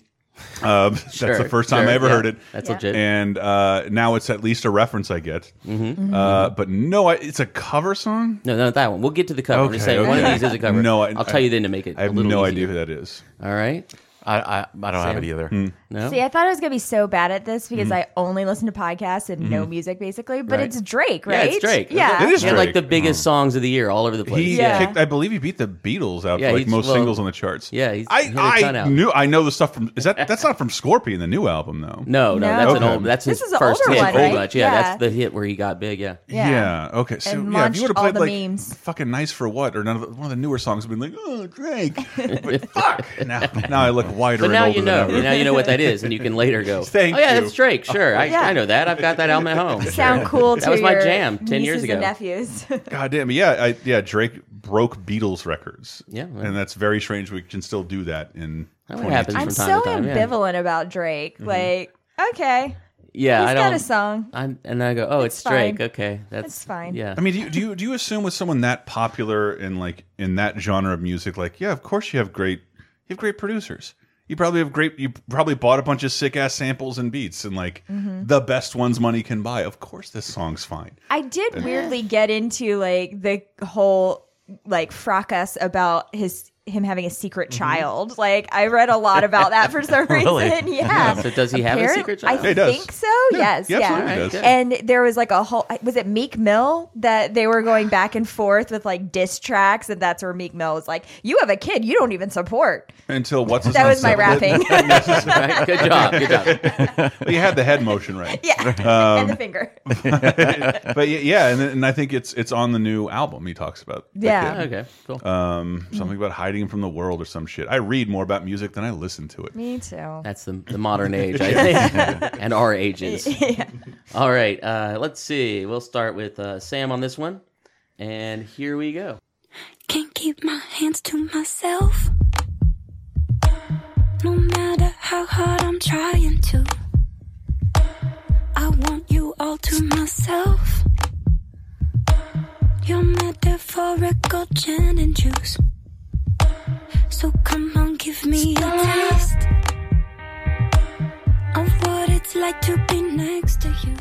A: Um, (laughs) that's the
D: Sure,
A: first time
D: sure,
A: I ever
D: yeah.
A: heard it.
D: That's
C: Yeah.
D: legit.
A: and uh, now it's at least a reference I get.
D: Mm-hmm.
A: Uh, but no, I, it's a cover song.
D: no, not that one. We'll get to the cover. I'm just
A: Okay,
D: saying one
A: okay.
D: of these is a cover.
A: No, I-
D: I, will tell you then to make it.
A: I have
D: a little
A: no
D: easier.
A: idea who that is.
D: All right.
B: I, I, I don't have it either.
D: No.
C: See, I thought I was gonna be so bad at this because I only listen to podcasts and no music basically. But
D: Mm-hmm. Right.
C: it's Drake,
D: Yeah,
C: right?
D: it's Drake.
C: Yeah.
A: It is
D: He had like the
A: Drake. Mm.
D: biggest songs of the year all over the place.
A: He
C: Yeah.
A: kicked, I believe he beat the Beatles out
D: Yeah,
A: for like
D: he's-
A: most
D: well,
A: singles on the charts.
D: yeah, he's- he
A: I,
D: had a ton
A: I
D: out.
A: knew I know the stuff from is that that's not from Scorpion, the new album though.
D: No, no, that's an
A: No.
D: old. That's his
C: This is an
D: first
C: older
D: hit,
C: one,
D: pretty
C: right?
D: much. Yeah,
C: Yeah.
D: that's the hit where he got
A: (laughs)
D: big. Yeah,
A: Yeah.
C: Yeah.
A: Okay. So
C: And
A: yeah, if you
C: launched
A: would have
C: all
A: played
C: the
A: like
C: memes. (laughs)
A: fucking nice for what or none of the, one of the newer songs, would have been like, oh Drake, but fuck. Now, now I look whiter
D: (laughs) But
A: and
D: now
A: older
D: you know.
A: than ever.
D: Now you know what that is, and you can later go.
A: Thank
D: oh yeah,
A: you.
D: that's Drake. Sure, I,
C: Yeah.
D: I know that. I've got that album at home.
C: Sound cool to
D: (laughs) That was my
C: your
D: jam 10
C: nieces
D: years
C: and
D: ago.
C: nephews.
A: God damn, yeah, I, yeah. Drake broke Beatles records.
D: Yeah, well.
A: and that's very strange. We can still do that in.
D: That
A: 20
D: happens.
C: I'm
D: from time
C: so
D: to time, yeah. Mm-hmm.
C: ambivalent about Drake. Like, okay,
D: Yeah,
C: he's
D: I
C: got
D: don't.
C: a song.
D: I'm, and I go, oh, it's,
C: fine.
D: Drake. Okay, that's
C: It's fine.
D: Yeah,
A: I mean, do you, do you do you assume with someone that popular in like in that genre of music, like yeah, of course you have great you have great producers. You probably have great. You probably bought a bunch of sick ass samples and beats, and like
C: Mm-hmm.
A: the best ones money can buy. Of course, this song's fine.
C: I did weirdly get into like the whole like fracas about his him having a secret
D: Mm-hmm.
C: child. Like I read a lot about that for
D: (laughs)
C: some
B: Really?
C: reason. Yeah.
D: So (laughs) does he have a secret child?
C: I
A: He does.
C: think so.
A: Yeah,
C: yes.
A: he
C: Yeah.
A: absolutely
D: does. Alright,
C: And there was like a whole was it Meek Mill that they were going back and forth with like diss tracks and that's where Meek Mill was like, "You have a kid you don't even support."
A: Until what's his
C: That
A: name
C: was my
A: said- (laughs)
C: rapping.
D: (laughs) (laughs)
C: (laughs)
D: Right? Good job. Good job.
A: You had the head motion right.
C: yeah.
D: Um,
C: and the finger.
A: but y- yeah, and, and I think it's it's on the new album. He talks about the
C: Yeah.
A: kid.
D: Okay, cool.
B: Uh.
A: um,
D: Mm-hmm.
A: something about hiding him from the world or some shit. I read more about music than I listen to it.
C: Me too.
D: That's the, the modern age,
B: (laughs)
D: I think, and our
C: (laughs)
D: ages. All right, uh, let's see. We'll start with uh, Sam on this one, and here we go.
G: Can't keep my hands to myself. No matter how hard I'm trying to, I want you all to myself. Your metaphorical gin and juice. So come on, give me a taste of what it's like to be next to you.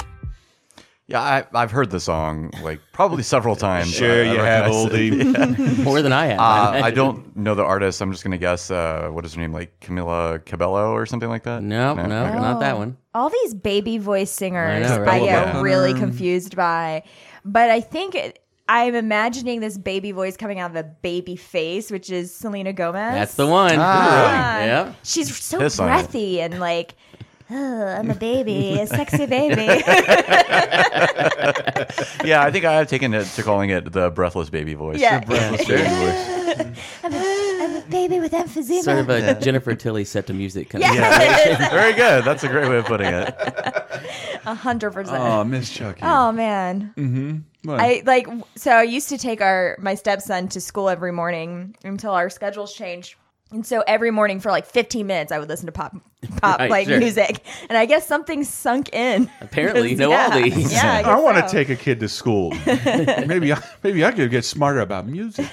B: Yeah, I, I've heard the song like probably several times.
A: Sure,
B: I- I
A: you have,
B: recognize it.
A: oldie.
D: More than I have.
B: Uh,
D: (laughs)
B: I
D: imagine.
B: don't know the artist. I'm just gonna guess. Uh, what is her name? Like Camila Cabello or something like that.
D: No, no,
B: okay.
D: not that one.
C: Oh, all these baby voice singers
D: I
C: I,
D: know, right?
C: get
B: Yeah.
C: really confused by. But I think it, I'm imagining this baby voice coming out of a baby face, which is Selena Gomez.
D: That's the one.
B: Ah.
D: Yeah.
C: She's so
B: Piss on it.
C: breathy and like, "Ugh, I'm a baby, a sexy
D: (laughs)
C: baby. (laughs)
B: Yeah, I think I have taken it to calling it the breathless baby voice.
C: yeah.
A: Sure.
C: (laughs) I'm, a, I'm a baby with emphysema.
D: Sort of a Jennifer Tilly set to music kind of.
B: (laughs)
C: yeah,
B: Very good. That's a great way of putting it.
C: (laughs) a hundred percent.
A: Oh, Miss Chucky.
C: Oh man.
D: Mm-hmm.
A: Well,
C: I like w- so I used to take our my stepson to school every morning until our schedules changed. And so every morning for like 15 minutes I would listen to
D: (laughs)
C: pop pop
D: Right,
C: like
D: sure.
C: music. And I guess something sunk in. (laughs)
D: Apparently, you know
C: yeah.
D: all these.
C: Yeah, I,
A: I want to
C: take
A: take a kid to
D: (laughs)
A: school. maybe I, maybe I could get smarter about music.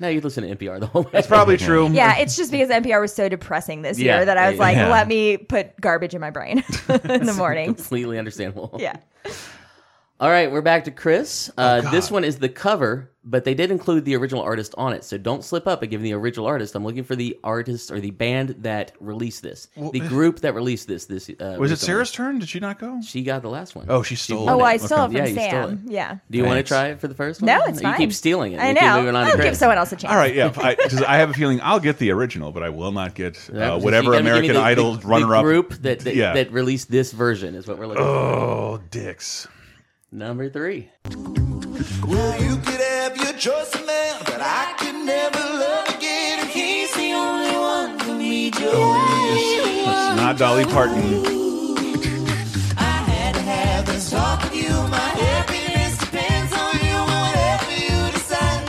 D: Now you listen to NPR the whole way.
A: It's probably true.
C: Yeah, it's just because NPR was so depressing this
D: Yeah,
C: year that I was
D: yeah,
C: like,
B: yeah.
C: let me put garbage in my brain (laughs)
D: (laughs)
C: in the morning.
D: (laughs) completely understandable.
C: Yeah.
D: All right, we're back to Chris.
A: Oh,
D: Uh, this one is the cover, but they did include the original artist on it. So don't slip up at giving the original artist. I'm looking for the artist or the band that released this, the group that released this. This uh,
A: eh. Was
D: recently.
A: it Sarah's turn? Did she not go?
D: She got the last one.
A: Oh, she stole.
C: Oh,
A: it.
C: I stole it
D: Yeah,
C: from
D: you stole
C: Sam.
D: it.
C: Yeah.
D: Do you want to
B: Thanks.
D: try it for the first one?
C: No, it's
D: you
C: fine.
D: keep stealing it.
C: I
D: You keep
C: know.
D: moving on to
C: I'll give
D: Chris.
C: someone else a chance.
A: All right, yeah, because I, have a feeling I'll get the original, but I will not get
D: That
A: uh,
D: was-
A: whatever
D: you gotta give me
A: American
D: the-
A: Idol
D: the, the
A: runner-up
D: group that that,
A: Yeah.
D: that released this version is what we're looking for.
A: Oh, dicks.
D: Number three.
F: Well, you could have your choice of man, but I could never love again. And he's the only one for me, Joey.
A: It's not Dolly Parton.
F: I had to have this talk with you. My happiness depends on you. Whatever you decide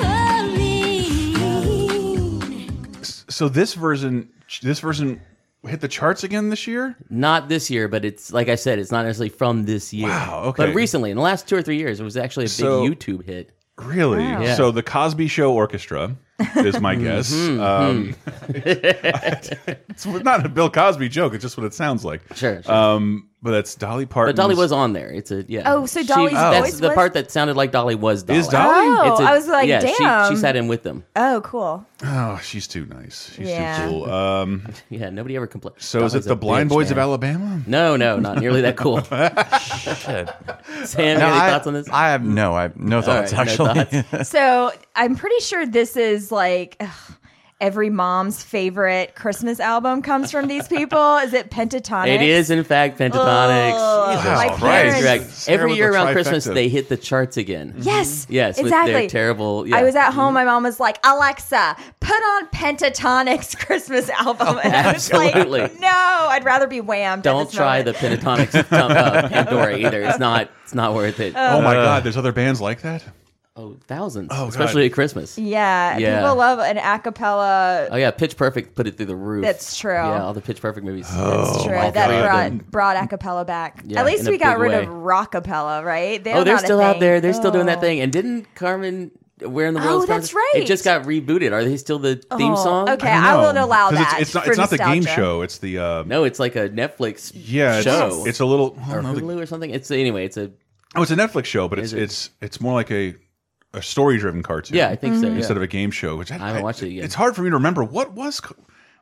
F: to do.
A: So this version, this version hit the charts again this year.
D: Not this year, but it's like I said, it's not necessarily from this year.
A: Wow, okay.
D: But recently, in the last two or three years, it was actually a big
A: So-
D: YouTube hit.
A: Really?
D: Yeah.
A: So the Cosby Show Orchestra is
D: Mm-hmm.
A: my guess. Um,
D: (laughs)
A: it's not a Bill Cosby joke. It's just what it sounds like.
D: Sure. sure.
A: Um, but that's Dolly Parton.
D: but Dolly was on there. It's a yeah.
C: Oh, so Dolly's
D: that's
C: voice
D: the
C: was-
D: part that sounded like Dolly was Dolly.
A: Is Dolly?
C: Oh,
D: It's a-
C: I was like,
D: yeah,
C: damn.
D: She, she sat in with them.
C: Oh, cool.
A: Oh, she's too nice. She's
C: Yeah.
A: too cool. Um,
D: Yeah, nobody ever complained.
A: so is
D: Dolly's
A: it the
D: a
A: Blind
D: bitch,
A: Boys of
D: man.
A: Alabama?
D: No, no, not nearly
A: (laughs)
D: that cool. Sam,
B: No,
D: any
B: I,
D: thoughts on this?
B: I have no, I no
D: All
B: thoughts
D: right, no
B: (laughs) actually.
D: thoughts.
C: So I'm pretty sure this is like ugh, every mom's favorite Christmas album comes from these
D: (laughs)
C: people? Is it Pentatonic?
D: It is, in
C: Oh,
D: fact, Pentatonics.
C: Ugh,
A: Jesus
C: my
A: Christ.
C: parents-
D: Correct.
A: Stare
D: Every
A: with
D: year
A: the
D: around
A: trifecta.
D: Christmas, they hit the charts again.
C: Yes.
D: Yes,
C: Exactly.
D: with their terrible. Yeah. Mm-hmm.
C: I was at home. My mom was like, "Alexa, put on Pentatonic's (laughs) Christmas album," and I was
D: Oh, absolutely.
C: like, "No, I'd rather be whammed." at
D: Don't
C: this
D: try
C: moment."
A: (laughs)
D: the pentatonics of Tom- uh, Pandora either. It's not. It's not worth it.
C: Uh,
A: Oh my God! There's other bands like that.
D: oh, thousands,
A: God.
D: especially at Christmas.
C: Yeah,
D: Yeah.
C: people love an a cappella.
D: Oh yeah, Pitch Perfect put it through the roof.
C: That's true.
D: Yeah, all the Pitch Perfect movies.
A: Oh
C: It's true.
D: all three of
C: that
D: them.
C: brought brought a cappella back.
D: Oh Yeah,
C: At least
D: in a
C: we got
D: big
C: rid
D: way.
C: of rockapella, right? They're
D: Oh, they're
C: not a
D: still out
C: thing.
D: there. They're still doing that
C: Oh.
D: thing. And didn't Carmen? Where in the
C: Oh,
D: world?
C: that's
D: It just got rebooted. Are they still the theme
C: Oh,
D: song?
C: Okay, I,
A: No.
C: won't allow
A: 'Cause
C: that.
A: It's, it's not.
C: for
A: It's not the game
C: nostalgia.
A: show. It's the. Uh,
D: No, it's like a Netflix
A: Yeah, it's,
D: show
A: it's a little. I
D: or
A: don't know, the-
D: Hulu or something. It's anyway, it's a
A: oh, it's a Netflix show, but it's
D: it?
A: it's it's more like a a story driven cartoon.
D: yeah, I think
C: Mm-hmm.
D: so.
A: instead
D: yeah.
A: of a game show, which I,
D: haven't watched it yet.
A: It's hard for me to remember what was Ca-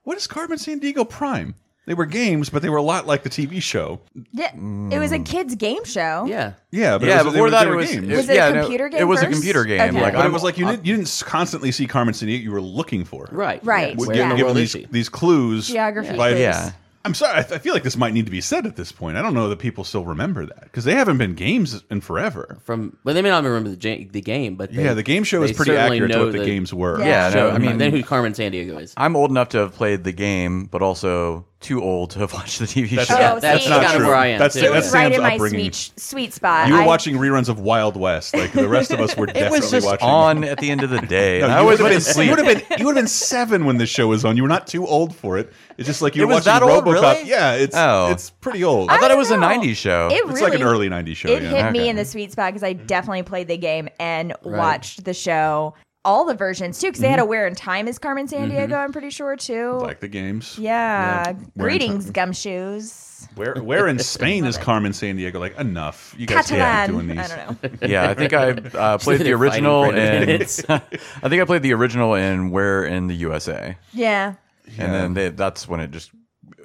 A: what is Carmen San Diego Prime. They were games, but they were a lot like the TV show.
C: Yeah, It was a kids' game show.
D: yeah.
A: Yeah, but
B: yeah,
A: it was, they
B: before
A: were-
B: that
A: they
B: it
A: were
B: was,
A: games.
B: it-
C: Was it a
B: yeah, no,
C: computer game
B: It was a
C: first?
B: computer game.
C: Okay.
B: Like
A: but
B: I'm-
A: it was like you, didn't, you didn't constantly see Carmen San Diego. You were looking for her.
D: Right.
C: Right,
A: We're
D: Where
A: gi-
C: yeah.
D: in the
A: Given
D: world
A: these,
D: is she?
A: these clues.
C: Geography.
A: by-
C: quiz.
B: yeah.
A: I'm sorry. I, I feel like this might need to be said at this point. I don't know that people still remember that because they haven't been games in forever.
D: From well, they may not remember the, ja- the game, but they,
A: yeah, the game show is
D: they
A: pretty
D: certainly
A: accurate to
D: know
A: what the, games were.
C: Yeah.
B: Yeah,
D: Show.
B: no, I
D: I mean,
B: mean,
D: then who Carmen San Diego is?
B: I'm old enough to have played the game, but also too old to have (laughs) watched the TV
A: That's
B: show.
A: not-
C: Oh,
D: that's
C: see,
D: kind
A: not
D: of
A: true.
D: where I am.
A: That's-
D: too.
C: It
A: that's
C: was
D: yeah.
A: Sam's
C: right in my
A: upbringing.
C: sweet sweet spot.
A: You were
C: I-
A: watching reruns of Wild West. Like the rest of us were
B: (laughs) It
A: definitely
B: was just
A: watching.
B: on at the end of the day.
A: No,
B: and I
A: you
B: always
A: would
B: (laughs) went to
A: have been. You
B: sleep.
A: would have been. You would have been seven when this show was on. You were not too old for it. It's just like you
B: It
A: were
B: was
A: watching
B: that old,
A: RoboCop.
B: really?
A: Yeah, it's
B: Oh.
A: it's pretty old.
B: I thought it was
C: don't
B: a
C: know.
B: 90s show.
C: It
A: it's
C: really,
A: like an early '90s show.
C: It
A: Oh, yeah. Mm.
C: hit me
B: Okay.
C: in the sweet spot because I definitely played the game and watched the show, all the versions too, because they had a Where in Time is Carmen San Diego. I'm pretty sure too.
A: Mm-hmm. like the games.
C: yeah.
A: Where in Time.
C: greetings, gumshoes.
A: Where where in Spain is Carmen San Diego? Like enough. You guys can't be doing
C: Catalan.
A: these.
C: I don't know.
B: yeah, I think I uh,
D: (laughs)
B: played the
D: They're fighting
B: original,
D: for it. (laughs)
B: and (laughs) I think I played the original in Where in the USA,
C: Yeah.
B: and then they, that's when it just,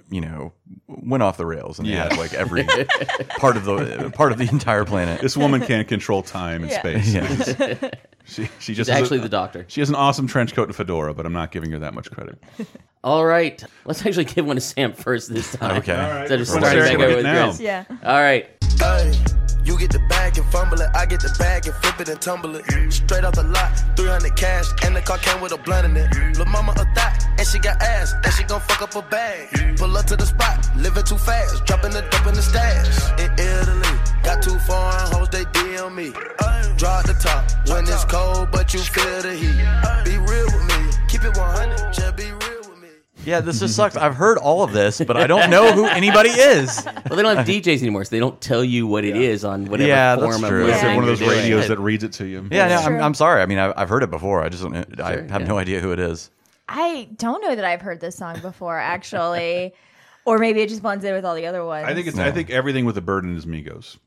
B: you know, went off the rails, and
A: Yeah.
B: they had like every part of the part of the entire planet.
A: This woman can't control time and
C: Yeah.
A: space.
B: (laughs) Yeah.
A: She she
D: She's
A: just has a-
D: actually the doctor.
A: She has an awesome trench coat and fedora, but I'm not giving her that much credit.
D: All right, let's actually give one to Sam
A: (laughs)
D: first this time.
B: Okay. All right.
D: So just
B: We're
D: starting
B: starting
D: back over
B: it
D: with
A: now.
D: Chris.
C: Yeah.
D: All right.
F: Ay, You get the bag and fumble it. I get the bag and flip it and tumble it. Straight out the lot, 300 cash, and the car came with a blunt in it. Lil' mama a thot, and she got ass, and she gon' fuck up a bag. Pull up to the spot, living too fast, dropping the dump in the stash. In Italy, got two foreign hoes, they DM me. Draw the top when it's cold, but you feel the heat. Be real with me, keep it 100, just be real with me.
B: Yeah, this just sucks. I've heard all of this, but I don't know who anybody is.
D: Well, they
A: (laughs)
D: don't have DJs anymore, so they don't tell you what it is on whatever
B: Yeah, that's
D: form of
B: true. Is it
D: listening
A: It's one of
D: you're
A: those
D: doing.
A: radios that reads it to you.
B: Yeah, no,
C: True.
B: I'm, I'm sorry. I mean, I've, I've heard it before. I just don't. Know, I
D: Sure,
B: have
D: yeah.
B: no idea who it is.
C: I don't know that I've heard this song before, actually. (laughs) or maybe it just blends in with all the other ones.
A: I think it's. I think everything with a burden is Migos.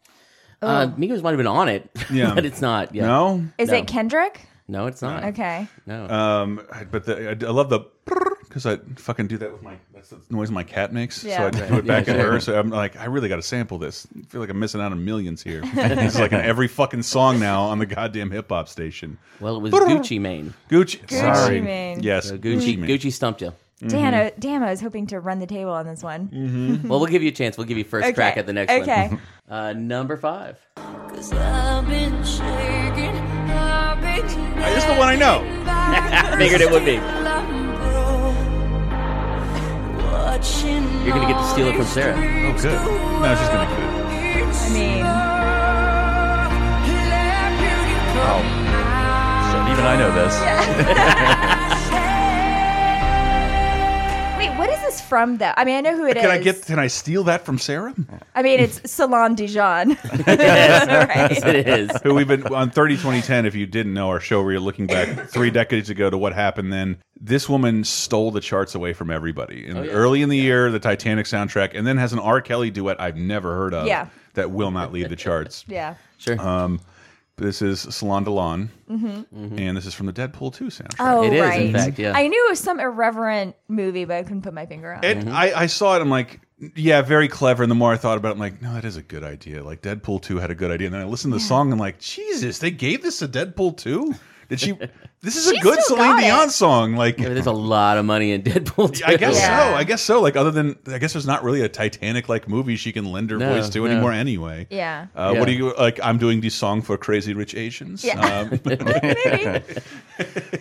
D: Uh, Migos might have been on it, (laughs)
A: Yeah.
D: but it's not. Yeah.
A: No,
C: Is
D: no.
C: it Kendrick?
D: No, it's not.
C: Okay.
D: No.
A: Um, I- but the, I, I love the because I fucking do that with my that's the noise my cat makes.
C: Yeah.
A: So I do it back
D: Yeah,
A: at
D: sure.
A: her. So I'm like, I really got to sample this. I feel like I'm missing out on millions here.
D: (laughs)
A: it's like in every fucking song now on the goddamn hip hop station.
D: well, it was Gucci Mane.
A: Gucci, sorry,
C: Mane.
A: yes,
D: So Gucci,
A: Mane.
D: Gucci stumped you.
C: Dan, I, damn, I was hoping to run the table on this one.
D: Mm. Well, we'll give you a chance. We'll give you first
C: Okay.
D: crack at the next
C: Okay.
D: one. (laughs) Uh, number five.
G: Cause I've been shaking, I've been
A: It's the one I know.
D: I (laughs) figured it would be.
G: You're
D: You're gonna get to steal it from Sarah.
A: Oh, good. No, she's gonna get it.
C: I mean,
B: Shit, even I know this.
C: wait, what is this from, though? I mean, I know who it is.
A: Can I get? Can I steal that from Sarah?
C: I mean, it's Salon
A: (laughs)
C: Dijon. (laughs) Right.
D: (laughs) It is.
A: Who we've been on 30 2010 if you didn't know our show where you're looking back three decades ago to what happened then this woman stole the charts away from everybody and
D: yeah.
A: early in the year the titanic soundtrack and then has an r kelly duet i've never heard of
C: Yeah.
A: that will not leave the charts
C: (laughs) Yeah.
D: Sure.
A: this is salon delon and this is from the deadpool 2 soundtrack
C: Oh,
D: It is, in
C: right.
D: fact, yeah.
C: I knew it was some irreverent movie, but I couldn't put my finger on it.
A: It,
D: Mm-hmm.
A: I, I saw it. I'm like, yeah, very clever. And the more I thought about it, I'm like, no, that is a good idea. Like Deadpool 2 had a good idea. And then I listened to the song and I'm like, Jesus, they gave this to Deadpool 2? Did
D: (laughs)
A: she? This is a good
C: still
A: Celine
C: got it.
A: Dion song. Like,
D: I mean, there's a lot of money in Deadpool. Too.
A: I guess
C: Yeah.
A: so. I guess so. Like, other than I guess there's not really a Titanic like movie she can lend her
D: No,
A: voice to
D: no.
A: anymore. Anyway,
C: Yeah.
A: Uh, What do
D: Yeah.
A: you like? I'm doing this song for crazy rich Asians.
C: Yeah.
A: Um,
C: (laughs)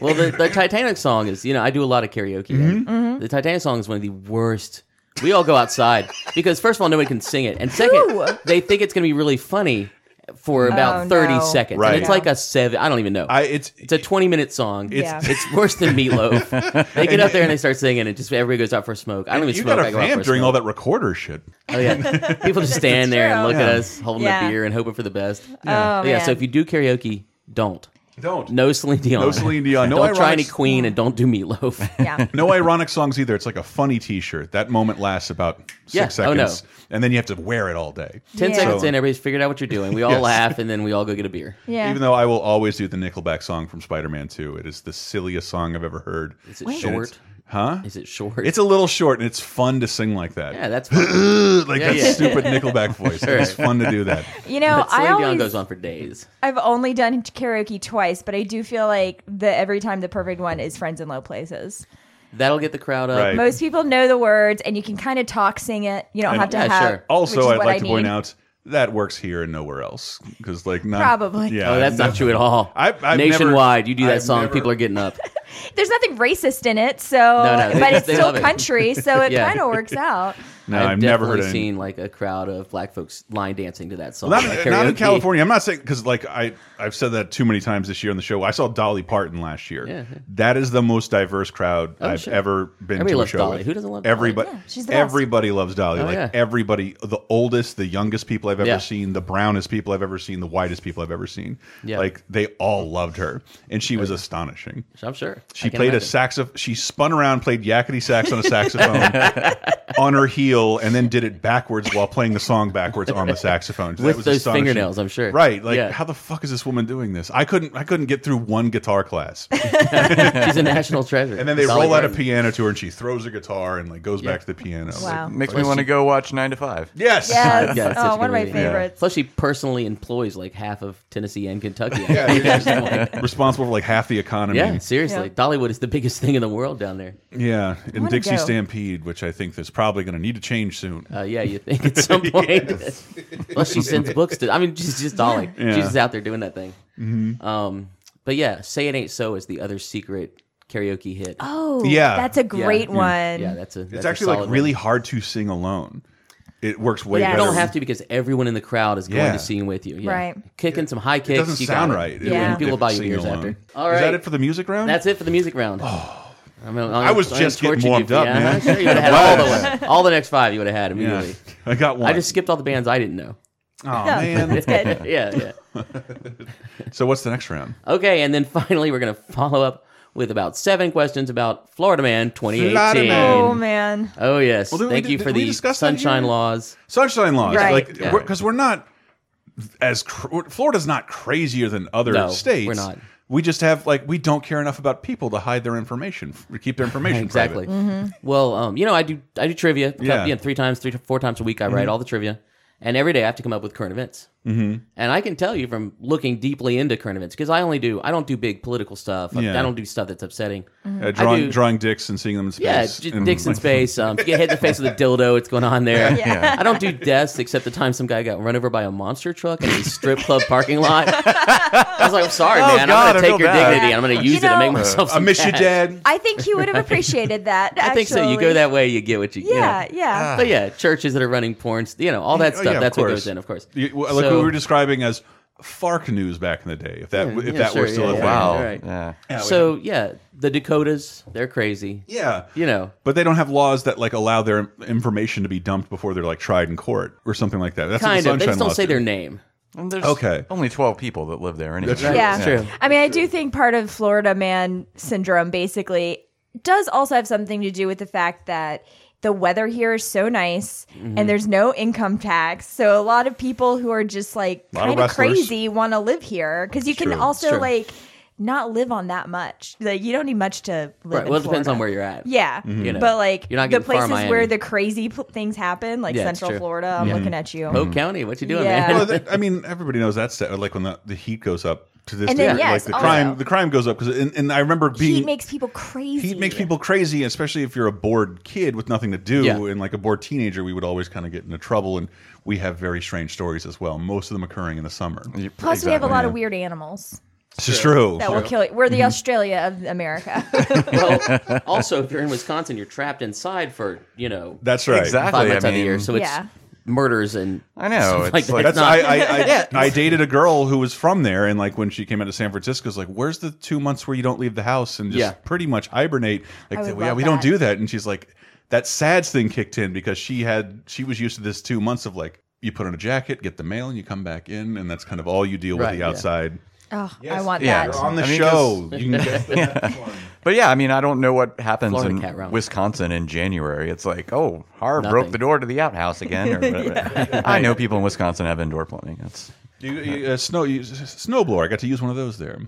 D: Well, the,
A: (laughs)
D: the Titanic song is, you know, I do a lot of karaoke.
A: Mm-hmm.
D: right?
C: Mm-hmm.
D: The Titanic song is one of the worst. We all go outside because, first of all, nobody can sing it. And second,
C: Who?
D: they think it's going to be really funny for about
C: Oh,
D: 30
C: no.
D: seconds.
A: Right.
D: And it's like a seven, I don't even know.
A: I it's
D: it's a 20 minute song. It's,
C: Yeah.
D: it's worse than
A: (laughs)
D: Meatloaf. they get up there and they start singing, and just everybody goes out for a smoke. I don't even
A: you
D: smoke.
A: got
D: I
A: a
D: go out for
A: vamp
D: a
A: during
D: smoke.
A: all that recorder shit.
D: Oh
A: (laughs)
D: yeah, people just stand there and
C: true.
D: look at
A: Yeah.
D: us holding
C: Yeah.
D: a beer and hoping for the best.
C: Oh,
D: But (laughs) yeah.
C: man.
D: So if you do karaoke, don't
A: Don't
D: no Celine Dion,
A: No Celine Dion. No
D: don't try
A: ironic-
D: any Queen and don't
A: (laughs)
D: do Meatloaf.
C: yeah.
A: no ironic songs either. It's like a funny T-shirt. That moment lasts about six
D: Yeah. Oh, no.
A: seconds, and then you have to wear it all day.
D: Ten
C: Yeah.
D: seconds
A: So-
D: in, everybody's figured out what you're doing. We all
A: Yes.
D: laugh and then we all go get a beer.
A: (laughs)
C: Yeah.
A: Even though I will always do the Nickelback song from Spider-Man 2. It is the silliest song I've ever heard.
D: Is it
C: Wait.
A: And
D: short?
A: it's- huh?
D: Is it short?
A: It's a little short, and it's fun to sing like that.
D: yeah, that's
A: (laughs)
D: fine.
A: like
D: Yeah,
A: that
D: yeah. (laughs)
A: stupid Nickelback voice. It's fun to do that.
C: you know, I
D: Celine Dion
C: always
D: goes on for days.
C: I've only done karaoke twice, but I do feel like the every time the perfect one is friends in low places.
D: That'll get the crowd up.
A: Right.
C: Most people know the words, and you can kind of talk, sing it. You don't
A: And-
C: have to
D: Yeah,
C: have.
D: sure.
A: Also,
C: which is
A: I'd
C: what
A: like
C: I
A: to point
C: need.
A: out that works here and nowhere else because, like, not,
C: Probably.
A: Yeah,
D: Oh, that's
A: no-
D: not true at all.
A: I- I've
D: Nationwide,
A: never-
D: you do that
A: I've
D: song,
A: never-
D: people are getting up.
C: There's nothing racist in it, so
D: no, they-
C: but it's
D: they
C: still
D: love it. (laughs)
C: country, so it
D: Yeah.
C: kind of works out.
A: (laughs) No,
D: I've,
A: I've, never heard
D: definitely
A: any-
D: seen like a crowd of black folks line dancing to that song.
A: Well,
D: at
A: not, in, not in
D: karaoke.
A: California. I'm not saying because like I I've said that too many times this year on the show. I saw Dolly Parton last year.
D: Yeah, yeah.
A: That is the most diverse crowd
D: Oh,
A: I've
D: sure.
A: ever been
D: Everybody
A: to a
D: loves
A: show
D: Dolly.
A: with.
D: Who doesn't love Dolly?
A: everybody?
C: Yeah, she's the best.
A: everybody loves Dolly.
D: Oh,
A: like
D: yeah.
A: everybody, the oldest, the youngest people I've ever
D: Yeah.
A: seen, the brownest people I've ever seen, the whitest people I've ever seen.
D: Yeah.
A: Like they all loved her, and she was astonishing.
D: I'm sure. I
A: She
D: can
A: played a
D: imagine.
A: saxophone. She spun around, played yakety sax on a
D: (laughs)
A: saxophone on her heel, and then did it backwards while playing the song backwards on the saxophone. That
D: With
A: was
D: those
A: astonishing.
D: fingernails, I'm sure.
A: Right? Like,
D: Yeah.
A: how the fuck is this woman doing this? I couldn't. I couldn't get through one guitar class.
D: She's
A: (laughs)
D: a national treasure.
A: And then they
D: Dolly
A: roll out a
D: Parton.
A: piano to her, and she throws her guitar and like goes back to the piano.
C: Wow.
A: Like,
B: Makes me want to go watch Nine to Five.
A: yes.
C: Yes.
D: (laughs) Yeah, it's such
C: oh,
D: a
C: one of my
D: good movie. Yeah.
C: favorites.
D: Plus, she personally employs like half of Tennessee and Kentucky.
A: Yeah, I mean, it's (laughs) like (laughs) responsible for like half the economy.
D: Yeah, seriously.
C: Yeah.
D: Dollywood is the biggest thing in the world down there.
A: Yeah. And
C: wanna
A: Dixie
C: go.
A: Stampede, which I think is probably going to need to change soon.
D: Uh, yeah, you think
A: (laughs)
D: at some point. (laughs) Plus, she sends books to. I mean, she's just Dolly.
A: Yeah. Mm-hmm.
D: She's just out there doing that thing. Um, but yeah, "Say It Ain't So" is the other secret karaoke hit.
C: Oh,
A: Yeah.
C: that's a
D: Yeah.
C: great
D: Yeah.
C: one.
D: yeah, that's a. That's
A: It's
D: a
A: actually like
D: solid
A: really
D: One.
A: hard to sing alone. It works way
C: Yeah.
A: better.
D: You don't have to because everyone in the crowd is going
A: Yeah.
D: to sing with you. Yeah.
C: Right.
D: Kicking some high kicks.
A: It doesn't
D: you got
A: sound
D: it.
A: right.
C: Yeah.
A: wouldn't
D: People
A: get
D: will buy you
A: singing
D: beers
A: along.
D: after. All
A: Is that
D: right.
A: it for the music round?
D: That's it for the music round. Oh. I, mean, I'm-
A: I was
D: I'm
A: just
D: gonna
A: getting
D: torture
A: warmed
D: you.
A: up,
D: yeah,
A: man.
D: I'm Sure
A: (laughs)
D: you would have had all the, all the next five you would have had
A: Yeah.
D: immediately.
A: I got one.
D: I just skipped all the bands I didn't
A: (laughs)
D: know.
A: Oh man.
C: That's good.
D: (laughs) yeah, yeah.
A: so what's the next round?
D: Okay, and then finally we're gonna follow up with about seven questions about Florida Man 2018.
A: Florida Man.
C: Oh man.
D: Oh yes,
A: Well, did we-
D: thank
A: did-
D: you for
A: did we
D: the
A: discuss that
D: sunshine
A: here?
D: laws.
A: Sunshine laws,
C: Right.
A: like
D: Yeah.
A: because we're, not as cr Florida's not crazier than other
D: No,
A: states.
D: we're not.
A: We just have like we don't care enough about people to hide their information, f- keep their information
D: (laughs) Exactly.
A: private.
C: Mm-hmm.
D: Well, um, you know, I do I do trivia.
A: Yeah. Mm-hmm.
D: you know, three times, three to four times a week, I write all the trivia, and every day I have to come up with current events. Mm-hmm. And I can tell you from looking deeply into current events because I only do I don't do big political stuff. I-
A: Yeah.
D: I don't do stuff that's upsetting.
C: Mm-hmm.
A: Uh, drawing
D: do-
A: drawing dicks and seeing them in space.
D: Yeah, j-
A: and,
D: dicks in
A: like, (laughs)
D: space. Um, if you get hit in the face with a dildo, it's going on there.
C: Yeah.
D: I don't do deaths except the time some guy got run over by a monster truck in a strip club parking lot. I was like, I'm
A: Oh,
D: sorry, man.
B: God,
D: I'm
B: I
D: going to
B: feel
D: take your
B: bad.
D: dignity and I'm going to
C: You
D: use it to
C: know-
D: make myself
A: I
D: some
A: miss you,
D: cash.
A: Dad.
C: I think he would have appreciated that.
D: (laughs) I think so. You go
C: actually.
D: that way, you get what you
C: Yeah,
D: get.
C: yeah.
D: But yeah, churches that are running porn, you know, all that
A: Oh,
D: stuff.
A: yeah, of
D: that's what
A: course.
D: goes in, of course.
A: You, well, like
D: So-
A: we were describing as FARC news back in the day, if that if
D: yeah,
A: that
D: sure,
A: were still
D: yeah,
A: a
D: yeah.
A: thing.
B: Wow.
D: Right.
B: Yeah.
D: so yeah, the Dakotas, they're crazy.
A: Yeah.
D: You know,
A: But they don't have laws that like allow their information to be dumped before they're like tried in court or something like that. That's
D: kind
A: what
D: of.
A: the
D: They
A: Sunshine
D: just don't
A: Laws
D: say
A: do.
D: their name.
B: And there's
A: Okay.
B: only 12 people that live there anyway.
A: That's true.
C: Yeah.
D: That's true.
C: I mean, I do think part of Florida man syndrome basically does also have something to do with the fact that the weather here is so nice
D: Mm-hmm.
C: and there's no income tax. So a lot of people who are just like
A: Lot of
C: kind of
A: wrestlers.
C: crazy want to live here because you can
A: true.
D: It's
C: also
D: true.
C: like not live on that much. Like you don't need much to live.
D: Right.
C: in
D: Well, it depends
C: Florida.
D: on where you're at.
C: Yeah,
D: You know,
C: but like
D: you're not
C: the
D: getting far in
C: places where
D: Miami.
C: the crazy pl- things happen, like
D: Yeah, it's
C: Central
D: true. Mm-hmm.
C: Florida, I'm looking at you.
D: Polk County, what you doing,
C: Yeah.
D: man?
A: Well, that, I mean, everybody knows that's like when the, the heat goes up to this
C: And
A: day.
C: then, yes,
A: like the
C: also-
A: crime, the crime goes up because, and, and I remember being
C: heat makes people crazy.
A: heat makes people crazy, especially if you're a bored kid with nothing to do.
D: Yeah.
A: And like a bored teenager, we would always kind of get into trouble. And we have very strange stories as well, most of them occurring in the summer.
C: Plus, we have a lot of
A: yeah.
C: weird animals
A: This is true.
C: that will kill you. We're the Australia of America.
A: (laughs)
D: well, also, if you're in Wisconsin, you're trapped inside for you know
A: That's right.
B: Exactly.
D: five months
B: I
D: out of the
B: mean-
D: year, so it's
C: Yeah.
D: murders and
B: I know. It's
D: like
B: like,
D: that.
A: That's
D: Not-
A: I I, I,
D: Yeah.
A: I dated a girl who was from there, and like when she came out to San Francisco, it's like, "Where's the two months where you don't leave the house and just
D: Yeah.
A: pretty much hibernate?" Like,
C: I would
A: yeah,
C: love
A: we don't
C: that.
A: do that. And she's like, "That sads thing kicked in because she had she was used to this two months of like you put on a jacket, get the mail, and you come back in, and that's kind of all you deal
D: Right,
A: with the
D: yeah.
A: outside."
C: oh, I want
B: yeah.
C: that.
B: You're
A: On the
B: I mean,
A: show, (laughs) you can guess the next one.
B: But yeah, I mean, I don't know what happens
D: Florida cat
B: in
D: round.
B: Wisconsin in January. It's like, oh, Harv
D: Nothing.
B: broke the door to the outhouse again.
D: (laughs)
B: Or whatever. I know people in Wisconsin have indoor plumbing. That's
A: You, you, uh, snow you, snowblower. I got to use one of those there.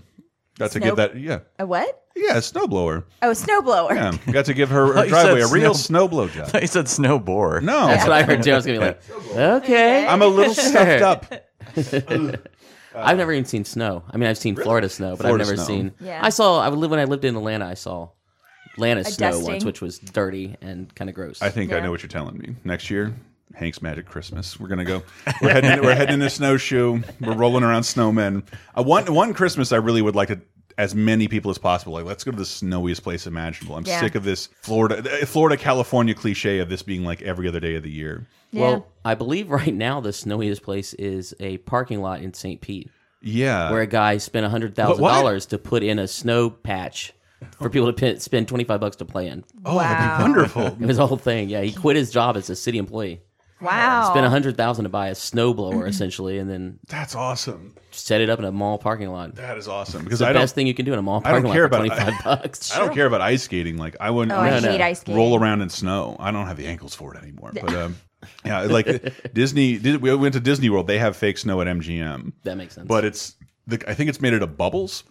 A: Got to
C: Snow-
A: give that yeah
C: A what?
A: yeah a snowblower.
C: Oh, snowblower.
A: Yeah, got to give her,
B: thought
A: her
B: you said
A: driveway a real
B: snow-
A: snowblow job.
B: (laughs) he said snow bore.
A: No,
D: (laughs) That's what I heard too. I was gonna be like, okay.
A: I'm a
C: (laughs)
A: little stuffed up.
D: I've never even seen snow. I mean, I've seen Florida snow, but
A: Florida
D: I've never
A: snow.
D: seen.
C: Yeah.
D: I saw. I would live when I lived in Atlanta. I saw Atlanta snow once,
C: dusting.
D: which was dirty and kind of gross.
A: I think I
C: Yeah.
A: know what you're telling me. Next year, Hank's Magic Christmas. We're (laughs) gonna go. We're heading. we're heading in a snowshoe. We're rolling around snowmen. I want one Christmas. I really would like to. As many people as possible. Like, let's go to the snowiest place imaginable. I'm
C: Yeah.
A: sick of this Florida, uh, Florida, California cliche of this being like every other day of the year.
C: Yeah.
D: Well, I believe right now the snowiest place is a parking lot in St. Pete,
A: Yeah.
D: where a guy spent hundred
A: What-
D: thousand
A: what?
D: dollars to put in a snow patch for people to pin, spend twenty five bucks to play in.
A: oh, that'd be wonderful.
D: It was a whole thing. Yeah, he quit his job as a city employee.
C: wow.
D: Spent hundred thousand to buy a snowblower essentially, and then
A: That's awesome.
D: set it up in a mall parking lot.
A: That is awesome because
D: the
A: I don't.
D: best thing you can do in a mall
A: I don't
D: parking lot
A: care
D: for
A: about-
D: twenty
A: (laughs)
D: five bucks.
A: I don't care about ice skating. Like I wouldn't.
C: oh, I
A: I'm
D: no.
C: hate ice skating.
A: roll around in snow. I don't have the ankles for it anymore. But um, yeah, like Disney. Dis- We went to Disney World. They have fake snow at MGM,
D: That makes sense.
A: but it's the, I think it's made out of bubbles,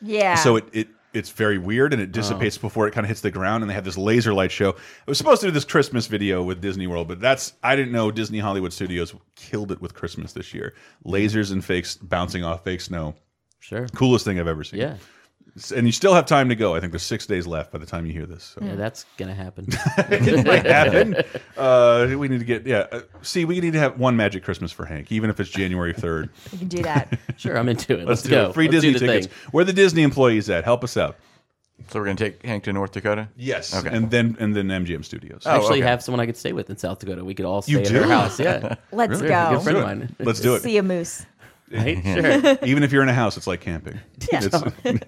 C: Yeah.
A: so it it. It's very weird, and it dissipates before it kind of hits the ground. And they have this laser light show. I was supposed to do this Christmas video with Disney World, but that's I didn't know Disney Hollywood Studios killed it with Christmas this year. Lasers and fakes bouncing off fake snow,
D: sure.
A: coolest thing I've ever seen.
D: Yeah.
A: and you still have time to go. I think there's six days left by the time you hear this. So. (laughs)
D: Yeah, that's gonna happen.
A: might happen. Uh, we need to get yeah. uh, See, we need to have one magic Christmas for Hank, even if it's January
D: (laughs)
A: third.
C: you can do that.
D: sure, I'm into it. Let's,
A: Let's do
D: go.
A: it. free
D: Let's do
A: Disney
D: the
A: tickets.
D: thing.
A: Where are the Disney employees at? Help us out.
B: So we're gonna take Hank to North Dakota.
A: Yes,
B: Okay.
A: and then and then MGM Studios.
D: I actually
B: okay.
D: have someone I could stay with in South Dakota. We could all stay
A: Oh, You
D: at
A: do?
D: her
A: (laughs)
D: house. Yeah.
C: Let's
A: Really?
C: go.
D: Good friend of mine.
A: Let's do it.
C: See a moose.
D: Right?
A: (laughs)
D: Sure.
A: (laughs)
D: (laughs)
A: Even if you're in a house, it's like camping. It's-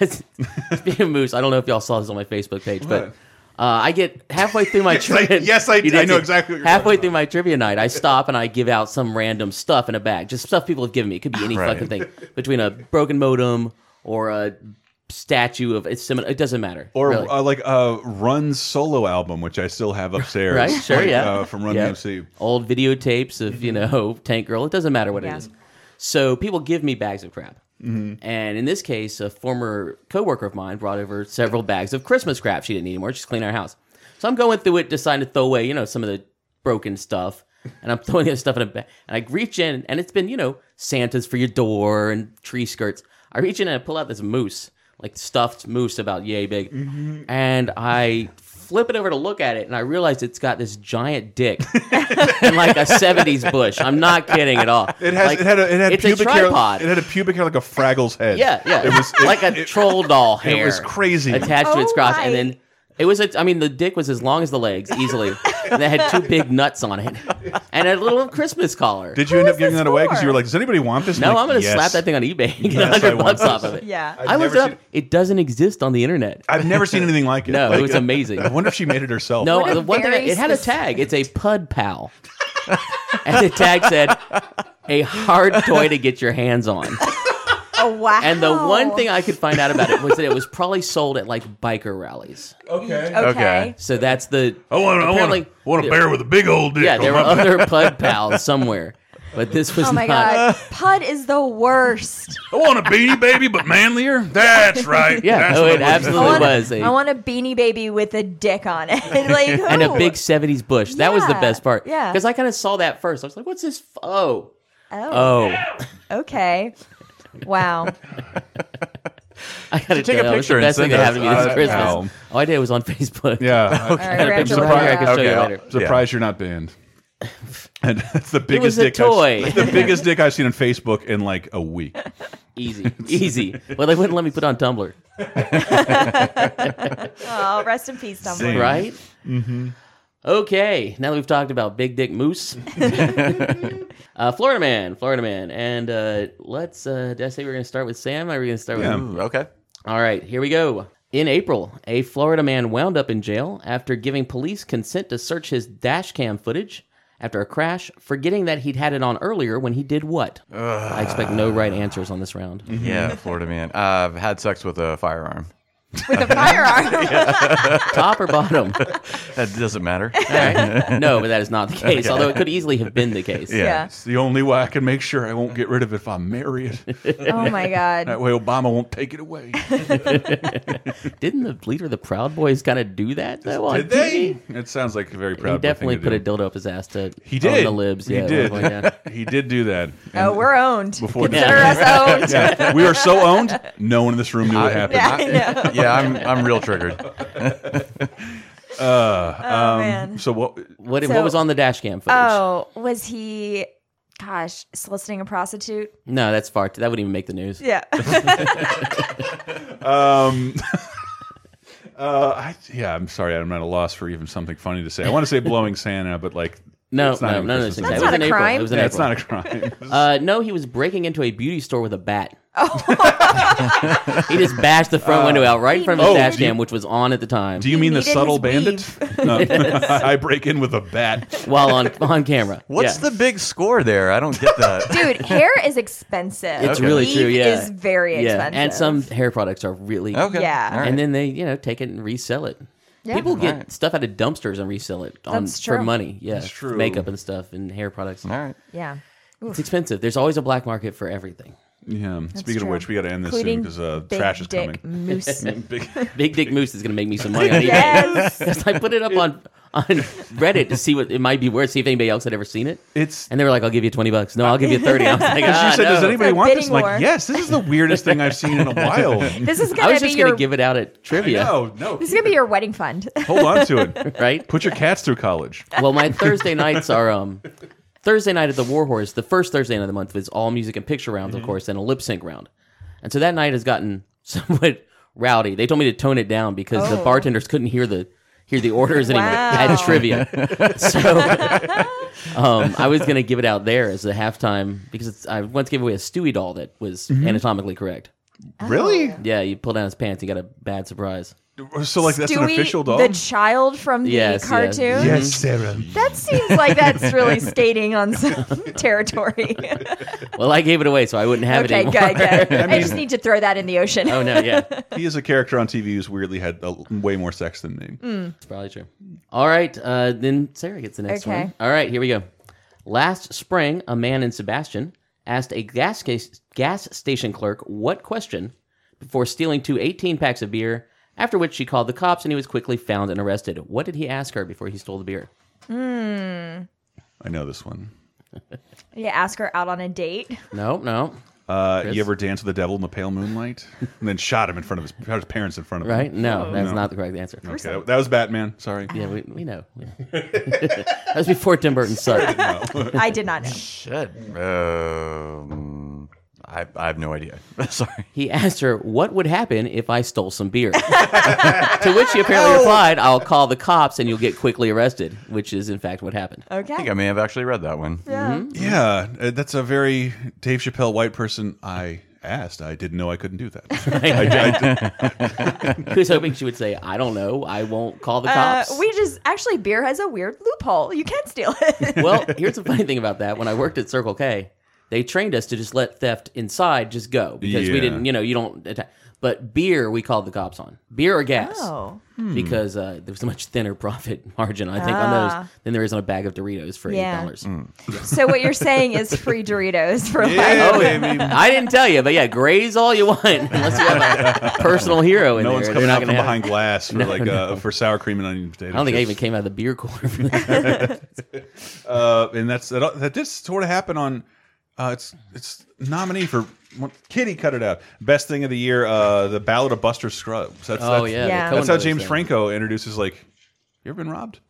D: Speaking of moose, I don't know if y'all saw this on my Facebook page, but uh, I get halfway
A: (laughs)
D: through my
A: Yes, I-
D: trivia.
A: yes, I-
D: You did
A: I know
D: too.
A: exactly what you're
D: halfway
A: talking
D: through my trivia night, I stop and I give out some random stuff in a bag, just stuff people have given me. It could be any
B: Right.
D: fucking thing, between a broken modem or a statue of it's similar. It doesn't matter.
A: or
D: really.
A: uh, like uh, Run's solo album, which I still have upstairs.
D: Right, sure,
A: like,
D: yeah.
A: uh, from Run
D: Yeah.
A: DMC.
D: old videotapes of you know Tank Girl. It doesn't matter what
C: Yeah.
D: it is. So people give me bags of crap, and in this case, a former coworker of mine brought over several bags of Christmas crap she didn't need anymore. She's cleaning our house, so I'm going through it, deciding to throw away you know some of the broken stuff, and I'm (laughs) throwing the other stuff in a bag. And I reach in, and it's been you know Santas for your door and tree skirts. I reach in and I pull out this moose, like stuffed moose about yay big, and I flip it over to look at it, and I realize it's got this giant dick (laughs) and like a '70s bush. I'm not kidding at all.
A: It has
D: Like,
A: it had a, it had
D: it's
A: pubic
D: a
A: hair.
D: tripod.
A: It had a pubic hair like a Fraggle's head.
D: yeah, yeah.
A: It was it-
D: like a
A: it-
D: troll doll hair.
A: was crazy.
D: attached to its
C: Oh
D: crotch,
C: my.
D: and then it was. A, I mean, the dick was as long as the legs, easily, and it had two big nuts on it, and a little Christmas collar.
A: Did you
C: Who
A: end
C: is
A: up giving
C: this
A: that away because
C: for?
A: you were like, "Does anybody want this?"
D: no,
A: like,
D: I'm gonna
A: "Yes."
D: slap that thing on eBay and get
A: Yes, I
D: hundred
A: want
D: bucks off
A: this.
D: of it.
C: Yeah.
A: I've
D: I looked it
A: never seen-
D: up. It doesn't exist on the internet.
A: I've never seen anything like it.
D: (laughs) No,
A: Like,
D: it was amazing.
A: I wonder if she made it herself.
D: No,
C: What a
D: the one thing
C: very
D: it had a
C: specific-
D: tag. It's a Pud Pal, and the tag said a hard toy to get your hands on.
C: Oh wow.
D: And the one thing I could find out about it was that it was probably sold at like biker rallies.
A: Okay.
C: Okay.
B: Okay.
D: So that's the
A: I want, I
D: apparently
A: want, want a bear with a big old dick.
D: yeah. There
A: Oh, on
D: were
A: my back.
D: other Pud Pals somewhere, but this was
C: Oh
D: (laughs)
C: my
D: not.
C: god. Pud is the worst.
A: I want a beanie baby, but
D: (laughs)
A: manlier. That's right.
D: Yeah,
A: That's
D: no,
A: what
D: (laughs) it
A: was.
D: absolutely-
C: I want,
D: was a-
C: I want a beanie baby with a dick on it. like
D: (laughs) And a
C: who?
D: big '70s bush. That was the
C: Yeah,
D: best part.
C: yeah.
D: because I kind of saw that first. I was like, "What's this? F- oh,
C: Oh,
D: oh,
C: okay.
D: (laughs)
C: Wow.
D: I gotta
B: take a
D: tell you,
B: picture and
D: It's the best
B: send
D: thing that
B: us
D: happened to me this
A: that
D: Christmas.
A: album.
D: All I did was on (laughs) Facebook.
A: Yeah.
C: All right, we're gonna have to
D: I'm
C: look it
D: surprised I
C: up.
D: can show you
B: Okay.
D: later.
A: Surprised you're not
D: (laughs)
A: banned. And that's the biggest
D: was a
A: dick
D: toy.
A: I've, that's (laughs) the biggest dick I've seen on Facebook in like a week.
D: Easy, easy. Well, they wouldn't let me put on Tumblr,
C: Oh, rest in peace, Tumblr.
A: Zing.
D: right? Mm-hmm. Okay, now that we've talked about Big Dick Moose, uh, Florida Man, Florida Man, and uh, let's. Uh, did I say we are gonna start with Sam? Or are we gonna start
A: Yeah.
D: with?
B: Ooh, okay.
D: All right, here we go. In April, a Florida man wound up in jail after giving police consent to search his dash cam footage after a crash, forgetting that he'd had it on earlier when he did what? I expect no right answers on this round.
B: Yeah, Florida man. I've had sex with a firearm.
C: With a firearm.
D: Top or bottom?
B: That doesn't
D: (laughs)
B: matter.
D: All
A: (laughs)
D: right. No, but that is not the case, although it could easily have been the case.
C: yeah.
A: It's the only way I can make sure I won't get rid of it if I marry it.
C: Oh my
A: That
C: god.
A: way Obama won't take it away.
D: Didn't the leader of the Proud Boys kind of do that, though? (laughs) on
A: Did they?
D: TV?
A: It sounds like a very proud.
D: He
A: boy thing
D: definitely
A: to
D: put
A: do.
D: a dildo up his ass to
A: He did.
D: own the libs.
A: He
D: yeah,
A: did. (laughs)
D: like that.
A: He did do that.
C: Oh,
A: And
C: we're owned.
D: (laughs)
A: Before (laughs)
C: Consider us owned.
A: Yeah, we are so owned. No one in this room knew what happened. (laughs)
C: Yeah, I know.
B: Yeah, I'm I'm real triggered.
C: Oh man.
A: um, So what?
D: What,
C: So-
D: what was on the dash cam footage?
C: Oh, was he? Gosh, soliciting a prostitute.
D: No, that's far. That wouldn't even make the news.
C: Yeah.
A: um, (laughs) Uh, I, yeah, I'm sorry. I'm at a loss for even something funny to say. I want to say blowing Santa, but like,
D: No,
A: It's not
D: no,
A: even
D: none of those
A: Christmas That's
D: things. It was
C: not
D: in
C: a
D: April.
C: crime.
D: It was in
A: yeah, it's
D: April.
A: not a crime.
D: (laughs) Uh, no, he was breaking into a beauty store with a bat.
C: Oh.
D: (laughs) he just bashed the front window out right in front of his
A: Uh, Oh,
D: dash
A: do you-
D: cam, which was on at the time,
A: Do you
C: He
A: mean the
C: needed
A: subtle
C: his
A: bandit? (laughs)
D: (laughs)
A: No. I break in with a bat. (laughs)
D: while on on camera.
B: What's
D: Yeah.
B: the big score there? I don't get
D: (laughs)
B: that.
C: (laughs) Dude, hair is expensive.
D: It's really
C: Weave
D: true. Yeah,
C: is very
D: Yeah.
C: expensive.
D: and some hair products are really.
B: Okay.
C: Yeah.
B: All right.
D: And then they, you know, take it and resell it.
C: Yeah.
D: People get
B: Alright.
D: stuff out of dumpsters and resell it on
C: That's
D: for
C: true.
D: money. Yeah,
A: That's true.
D: Makeup and stuff and hair products.
B: All right.
C: Yeah.
D: It's expensive. There's always a black market
A: (laughs)
D: for everything.
A: Yeah. Speaking
C: true.
A: of which, we got to end this soon
C: Including
A: because uh,
C: big
A: trash is
C: dick
A: coming.
D: (laughs)
C: Moose. (laughs)
A: Big,
D: Big Dick Moose is going to make me some money on eBay.
C: yes.
D: Because (laughs) I put it up on on Reddit to see what it might be worth, see if anybody else had ever seen it.
A: it's (laughs)
D: And they were like, "I'll give you twenty bucks." No, I'll give you thirty. I was like,
A: Because
D: ah,
A: you said, does
D: no."
A: anybody
C: It's a
A: want this? I'm
C: bidding
A: like,
C: war.
A: yes, this is the weirdest thing I've seen in a
D: (laughs)
A: while.
C: This is
D: I
C: gonna
D: was
C: be
D: just going
C: your.
D: to give it out at trivia,
A: No, no.
C: this is gonna be your
A: (laughs)
C: wedding fund.
A: Hold on to it.
D: right?
A: Put your cats through college.
D: Well, my Thursday nights are um Thursday night at the Warhorse. The first Thursday night of the month is all music and picture rounds,
C: Mm-hmm.
D: of course, and a lip sync round. And so that night has gotten (laughs) somewhat rowdy. They told me to tone it down because the
C: Oh.
D: bartenders couldn't hear the hear the orders anymore
C: Wow.
D: at
C: (laughs)
D: trivia. So um, I was going to give it out there as a halftime because it's, I once gave away a Stewie doll that was
C: Mm-hmm.
D: anatomically correct.
A: Really?
D: Yeah, you pull down his pants, you got a bad surprise.
A: So like that's an
C: Stewie,
A: official dog.
C: The child from the
D: Yes, yes.
C: cartoon.
A: Sarah.
C: That seems like
A: (laughs)
C: that's really skating on some (laughs)
D: (laughs)
C: territory.
D: Well, I gave it away, so I wouldn't have
C: okay,
D: it
C: good,
D: anymore.
C: good. I, just need to throw that in the ocean.
D: (laughs) Oh no, yeah.
A: He is a character on TV who's weirdly had uh, way more sex than me.
D: It's probably true. All right, uh, then Sarah gets the next
C: Okay.
D: one. All right, here we go. Last spring, a man in Sebastian asked a gas case, gas station clerk what question before stealing two 18 packs of beer. After which she called the cops and he was quickly found and arrested. What did he ask her before he stole the beer?
A: I know this one.
C: You ask her out on a date.
A: (laughs)
D: No, no,
A: Uh, you ever dance with the devil in the pale moonlight? and then shot him in front of his, shot his parents in front of him.
D: right? No, that's not the correct answer.
A: Okay, that, that was Batman. Sorry.
D: Yeah, (laughs) we, we know. that was before Tim Burton sucked.
C: I did not know.
B: Shit. Um, I I have no idea. (laughs) Sorry.
D: he asked her, What would happen if I stole
C: (laughs)
D: some beer? to which she
C: Oh.
D: apparently replied, I'll call the cops and you'll get quickly arrested, which is in fact what happened.
B: I think
C: Okay.
B: I may have actually read that one.
C: Yeah.
A: Yeah, uh, that's a very Dave Chappelle white person. I asked. I didn't know I couldn't do that.
D: (laughs) He was hoping she would say, I don't know, I won't call the
C: Uh,
D: cops.
C: we (laughs) just actually beer has a weird loophole. You can steal it.
D: well, here's the funny thing about that. When I worked at Circle K, they trained us to just let theft inside just go because
A: Yeah.
D: we didn't, you know, you don't attack. But beer, we called the cops on. Beer or gas.
C: (laughs) Oh.
D: Because uh, there was a much thinner (laughs) profit margin, I think, on those than there is on a bag of Doritos for $8.
C: Ah. Yeah. So what you're saying is free Doritos for
A: Oh, Yeah,
D: Oh,
C: life.
A: baby.
D: (laughs) I didn't tell you, but yeah, graze all you want (laughs) unless you have a personal hero in
A: No
D: there.
A: one's
D: They're
A: coming
D: not
A: out from
D: gonna have-
A: behind glass
D: (laughs)
A: for like uh, for sour cream and onion potatoes.
D: I don't think I even came out of the (laughs) beer cooler. For that.
A: Uh, and that's that. That did sort of happen on. Uh, it's it's nominee for well, Kitty. Cut it out. Best thing of the year. Uh, the Ballad of Buster Scruggs. That's,
D: Oh
A: that's,
D: yeah,
C: Yeah.
D: the Coen
A: That's how
D: Brothers
A: James
D: thing.
A: Franco introduces like, "You ever been robbed?"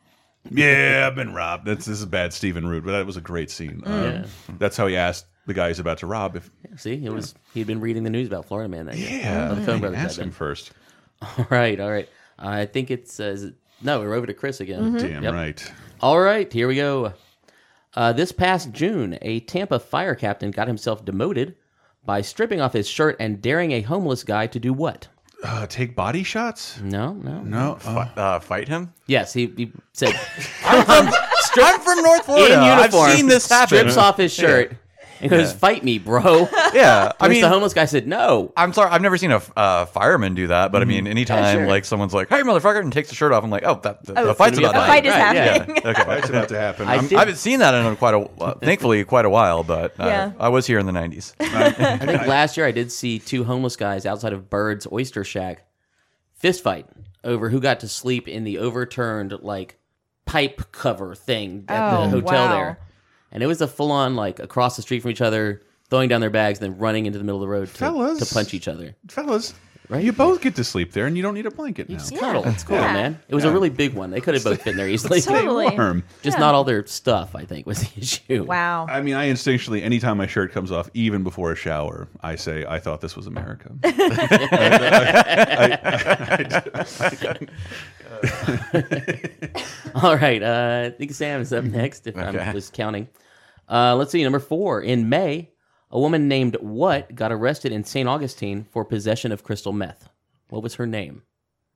A: yeah, I've been robbed. That's this is bad Stephen Root, but that was a great scene.
D: Mm.
A: Um, That's how he asked the guy he's about to rob if
D: See, it was he'd been reading the news about Florida Man that year.
A: yeah,
D: Oh, the Coen Brothers
A: ask
D: had
A: him
D: been.
A: first.
D: (laughs) All right, all right. I think it's uh, is it- no. We're over to Chris again.
A: Damn
D: Yep.
A: right.
D: All right, here we go. Uh, this past June, a Tampa fire captain got himself demoted by stripping off his shirt and daring a homeless guy to do what?
A: Uh, take body shots.
D: No, no.
A: No, uh,
D: Oh.
B: Fi- uh, fight him.
D: Yes, he, he said
B: I'm from North Florida.
D: in uniform.
B: I've seen this happen.
D: Strips off his shirt and goes, "Fight me, bro."
B: Yeah, I
D: I mean,
B: mean,
D: the homeless guy said, "No."
B: I'm sorry, I've never seen a uh, fireman do that. But
D: Mm.
B: I mean, anytime
D: sure.
B: like someone's like, "Hey, motherfucker," and takes the shirt off, I'm like, "Oh, that, the, the
C: it's
B: fight's
D: gonna
B: about
D: be
B: to happen.
C: The fight is
D: a right, yeah.
C: happening.
B: Yeah, okay.
A: (laughs) that's about to happen. Um,
D: I
A: I'm-
D: did-
B: I haven't seen that in quite a (laughs) uh, thankfully quite a while, but uh,
C: Yeah.
B: I was here in the
D: (laughs)
B: '90s.
D: I think last year I did see two homeless guys outside of Bird's Oyster Shack fist fight over who got to sleep in the overturned like pipe cover thing at
C: Oh,
D: the hotel
C: wow.
D: there. And it was a full on like across the street from each other, throwing down their bags, then running into the middle of the road to,
A: Fellas.
D: to punch each other.
A: fellas,
D: Right?
A: you both get to sleep there, and you don't need a blanket now.
D: Just
A: Stay
D: cuddle. It's cool,
C: Yeah.
D: man. It was a really big one. They could have both been there easily.
C: Totally.
A: warm.
D: Just not all their stuff, I think, was the (laughs) issue.
C: (laughs) Wow.
A: I mean, I instinctually, anytime my shirt comes off, even before a shower, I say, "I thought this was America."
D: (laughs) All right. Uh, I think Sam is
A: Mm-hmm.
D: up next, if I
B: Okay.
D: was counting. Uh, let's see. Number four. In May, a woman named What got arrested in St. Augustine for possession of crystal meth. What was her name?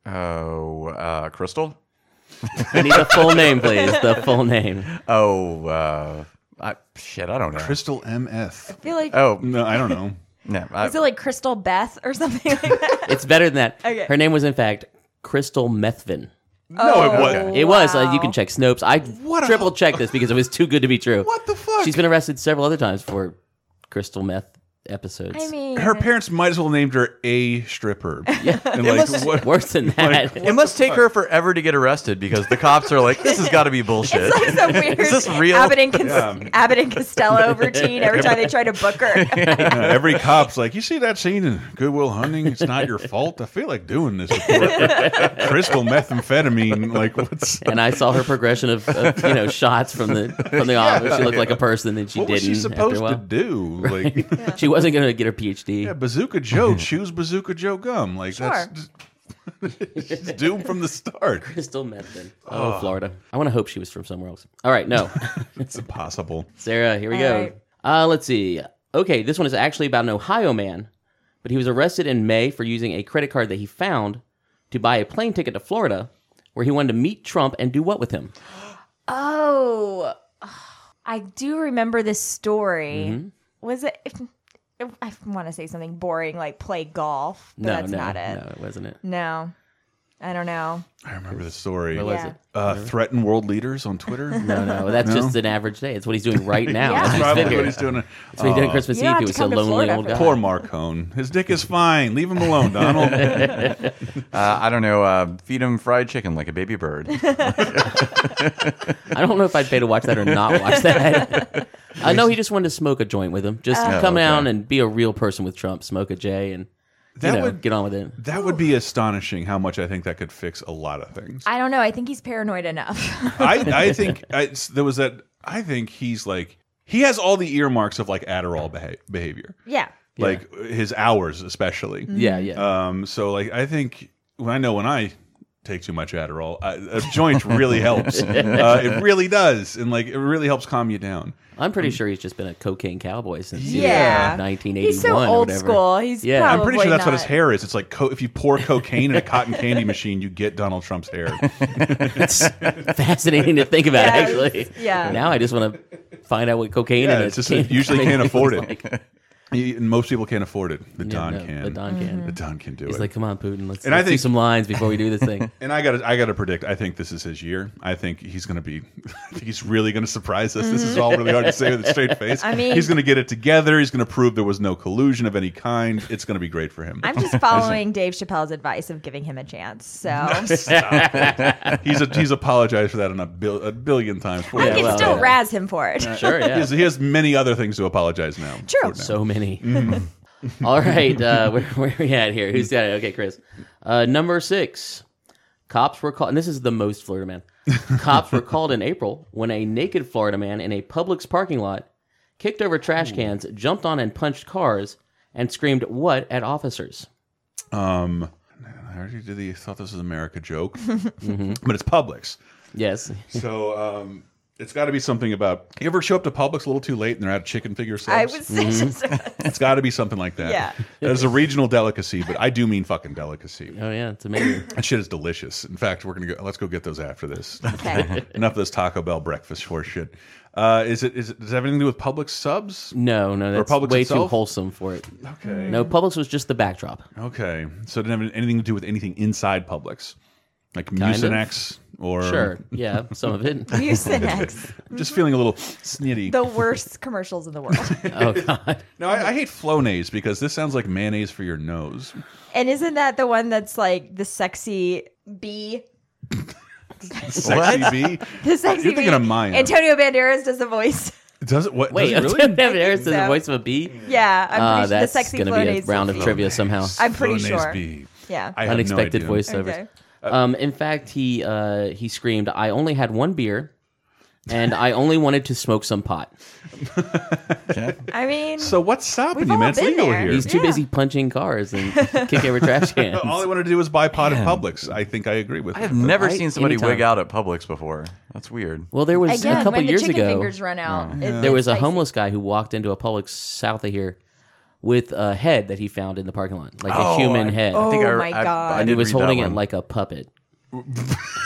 B: Oh, uh, Crystal.
D: I need the full name, please. The full name.
B: Oh, uh, I, shit, I don't know.
A: (laughs) Crystal MF.
C: I feel like
B: oh,
A: No, I don't know.
B: no, I,
C: is it like Crystal Beth or something like
D: (laughs)
C: that?
D: It's better than that.
C: Okay.
D: Her name was, in fact, Crystal Methvin.
A: No, it wasn't.
D: It was. Uh, you
C: Oh, wow.
D: can check Snopes. I
A: a- (laughs)
D: triple checked this because it was too good to be true.
A: What the fuck?
D: She's been arrested several other times for crystal meth episodes.
C: I mean,
A: her parents might as well named her a stripper. Yeah, and
B: must-
A: like, what,
D: (laughs) worse than that.
B: it must take her forever to get arrested because the cops are like, this has got to (laughs) be bullshit.
C: It's like some weird
B: this real?
C: Abbott, and Cos- Abbott and Costello routine every time they try to book her.
A: Yeah, (laughs) every cop's like, you see that scene in Goodwill Hunting? It's not your fault. I feel like doing this. report."
D: (laughs)
A: Crystal methamphetamine. Like, what's
D: and I saw her progression of, of you know shots from the from the office. She looked like a person, and
A: (laughs)
D: she
A: what was
D: didn't.
A: she
D: after a
A: supposed to
D: while.
A: do? Like,
D: (laughs) She wasn't going to get her PhD.
A: yeah, Bazooka Joe chews Bazooka Joe gum. Like,
C: Sure.
A: that's (laughs) just doomed from the start.
D: Crystal methadone. Oh,
A: Ah.
D: Florida. I want to hope she was from somewhere else. All right,
A: (laughs)
D: no,
A: It's impossible.
D: Sarah. Here we
C: All
D: go.
C: right.
D: Uh, let's see. Okay, this one is actually about an Ohio man, but he was arrested in May for using a credit card that he found to buy a plane ticket to Florida, where he wanted to meet Trump and do what with him?
C: Oh, I do remember this story.
D: Mm-hmm.
C: Was it? I want to say something boring like play golf, but
D: no,
C: that's
D: no,
C: not it.
D: no,
C: (laughs)
D: it wasn't it.
C: No. I don't know.
A: I remember the story.
D: What was
C: Yeah.
D: it?
A: Uh, threaten world leaders on Twitter.
D: (laughs) No, no, that's
A: No?
D: just an average day. It's what he's
C: (laughs)
D: doing right
C: Yeah.
D: now. That's
A: That's
D: what he's
A: probably
D: figuring.
A: what he's doing.
D: That's what he did
A: Uh,
D: on Christmas
C: You don't
D: Eve.
C: have
D: He
C: to
D: was a
C: come to
D: lonely
C: Florida
D: old
C: for
D: guy.
A: Poor Marcone. His dick is fine. Leave him alone,
D: (laughs)
A: Donald.
B: Uh, I don't know. Uh, feed him fried chicken like a
A: (laughs)
B: baby bird.
D: I don't know if I'd pay to watch that or
C: (laughs)
D: not watch that. I know he just wanted to smoke a joint with him. Just
C: Oh.
D: come
B: okay.
D: down and be a real person with Trump. Smoke a J and you
A: That
D: know,
A: would- Mm-hmm.
D: get on with it.
A: That would be astonishing how much I think that could fix a lot of things.
C: I don't know. I think he's paranoid enough. (laughs)
A: I, I think I, there was that. I think he's like he has all the earmarks of like Adderall beha- behavior,
C: yeah.
A: like his hours especially.
D: Yeah, yeah.
A: Um. So like I think when I know when I take too much Adderall, I, a joint really
D: (laughs)
A: helps. Uh, it really does, and like it really helps calm you down.
D: I'm
A: um,
D: pretty sure he's just been a cocaine cowboy since he was,
C: Yeah.
D: like, 1981.
C: He's so
D: or
C: old
D: whatever.
C: school. He's
D: Yeah.
C: probably
D: I'm
A: I'm pretty sure that's
C: not.
A: what his hair is. It's like co if you pour cocaine in a cotton
D: (laughs)
A: candy machine, you get Donald Trump's hair.
C: (laughs)
D: It's fascinating to think about,
C: Yeah,
D: actually.
C: yeah.
D: Now I just want to find out what cocaine
A: Yeah,
D: in
A: it's
D: it. (laughs)
A: just that you usually can't afford it. You- Most people can't afford it. The Don
D: no,
A: can.
D: the Don can.
A: The Don can do
D: He's
A: it.
D: like, come on, Putin, let's,
A: And I
D: let's do
A: think-
D: some lines before we do this
A: (laughs)
D: thing.
A: and I got I got to predict. I think this is his year. I think he's going to be. (laughs) I think he's really going to surprise us. This is all really hard to say with a straight face.
C: Mm-hmm. (laughs) I mean-
A: he's going to get it together. He's going to prove there was no collusion of any kind. It's going to be great for him.
C: I'm (laughs)
D: (laughs)
C: just following Dave Chappelle's advice of giving him a chance. So
A: he's a, he's apologized for that in a, bil a billion times.
C: I
D: Yeah,
C: can
D: well,
C: still
D: yeah.
C: razz him for it.
D: sure,
A: He
D: yeah.
A: has, he has many other things to apologize now.
C: True.
A: for now. (laughs)
D: So many.
A: Mm-hmm.
D: (laughs) All right, uh, where, where we at here? Who's got it? Okay, Chris. Uh, number six. Cops were called, and this is the most
A: (laughs)
D: Florida man. Cops were called in April when a naked Florida man in a Publix parking lot kicked over trash cans, jumped on and punched cars, and screamed "What?" at officers.
A: Um, I already did the thought this was America joke,
C: (laughs) Mm-hmm.
A: but it's Publix.
D: Yes.
A: So um, it's got to be something about. You ever show up to Publix a little too late and they're out of chicken figure subs?
C: I was (laughs) just
D: Mm-hmm.
A: It's got to be something like that.
C: Yeah.
A: There's a regional delicacy, but I do mean fucking delicacy.
D: Oh yeah, it's amazing.
A: That shit is delicious. In fact, we're gonna go. Let's go get those after this. (laughs)
C: okay.
A: Enough of this Taco Bell breakfast horse shit. Uh, is it? Is it? Does it have anything to do with Publix subs?
D: No, no, that's
A: Republics
D: way too
A: itself?
D: wholesome for it.
A: Okay.
D: No, Publix was just the backdrop.
A: Okay. So it didn't have anything to do with anything inside Publix, like
D: of.
A: Mucinex or
D: Sure, yeah, some of
A: (laughs)
D: it.
C: Mucinex,
A: Just feeling a little snitty.
C: the worst commercials in the world.
D: Oh God,
A: No, I, I hate Flonase because this sounds like mayonnaise for your
D: (laughs)
A: nose.
C: And isn't that the one that's like the sexy bee?
A: Sexy bee.
C: The sexy
A: You're thinking
C: bee.
A: of Maya.
C: Antonio Banderas does the voice. (laughs)
A: Does it? What?
D: wait, (laughs)
A: does it really?
D: there's the
C: so.
D: voice of a bee.
C: Yeah, I'm
D: Ah,
C: pretty sure the
D: that's
C: sexy
D: gonna be a
C: Flonase
D: round of
C: bee.
D: trivia somehow.
C: I'm pretty
A: Flonase
C: sure.
A: bee.
C: Yeah.
A: I have no
D: Unexpected
A: idea.
D: voiceovers.
C: Okay.
B: Uh,
D: Um, in fact, he uh, he screamed, "I only had one beer, and I only wanted to smoke some pot."
C: I mean,
A: So what's up?
C: We've
A: And you
C: all
A: man, it's
C: been
A: legal
C: there.
A: here.
D: He's too
C: Yeah.
D: busy punching cars and kick over trash
B: (laughs)
D: cans.
A: All I wanted to do was buy a pot at Publix. I think I agree with.
B: I have never
D: Right?
B: seen somebody
D: Anytime.
B: wig out at Publix before. That's weird.
D: well, there was
C: again,
D: a couple
C: when the
D: years
C: chicken
D: ago.
C: fingers run
A: Oh.
C: out, it-
D: There
C: it's
D: was a
C: spicy.
D: homeless guy who walked into a Publix south of here with a head that he found in the parking lot, like a
B: Oh,
D: human
B: I-
D: head.
C: Oh
B: I,
C: my God.
B: I,
D: and
B: did
D: he was
B: read that
D: holding it
B: one.
D: like a puppet. (laughs)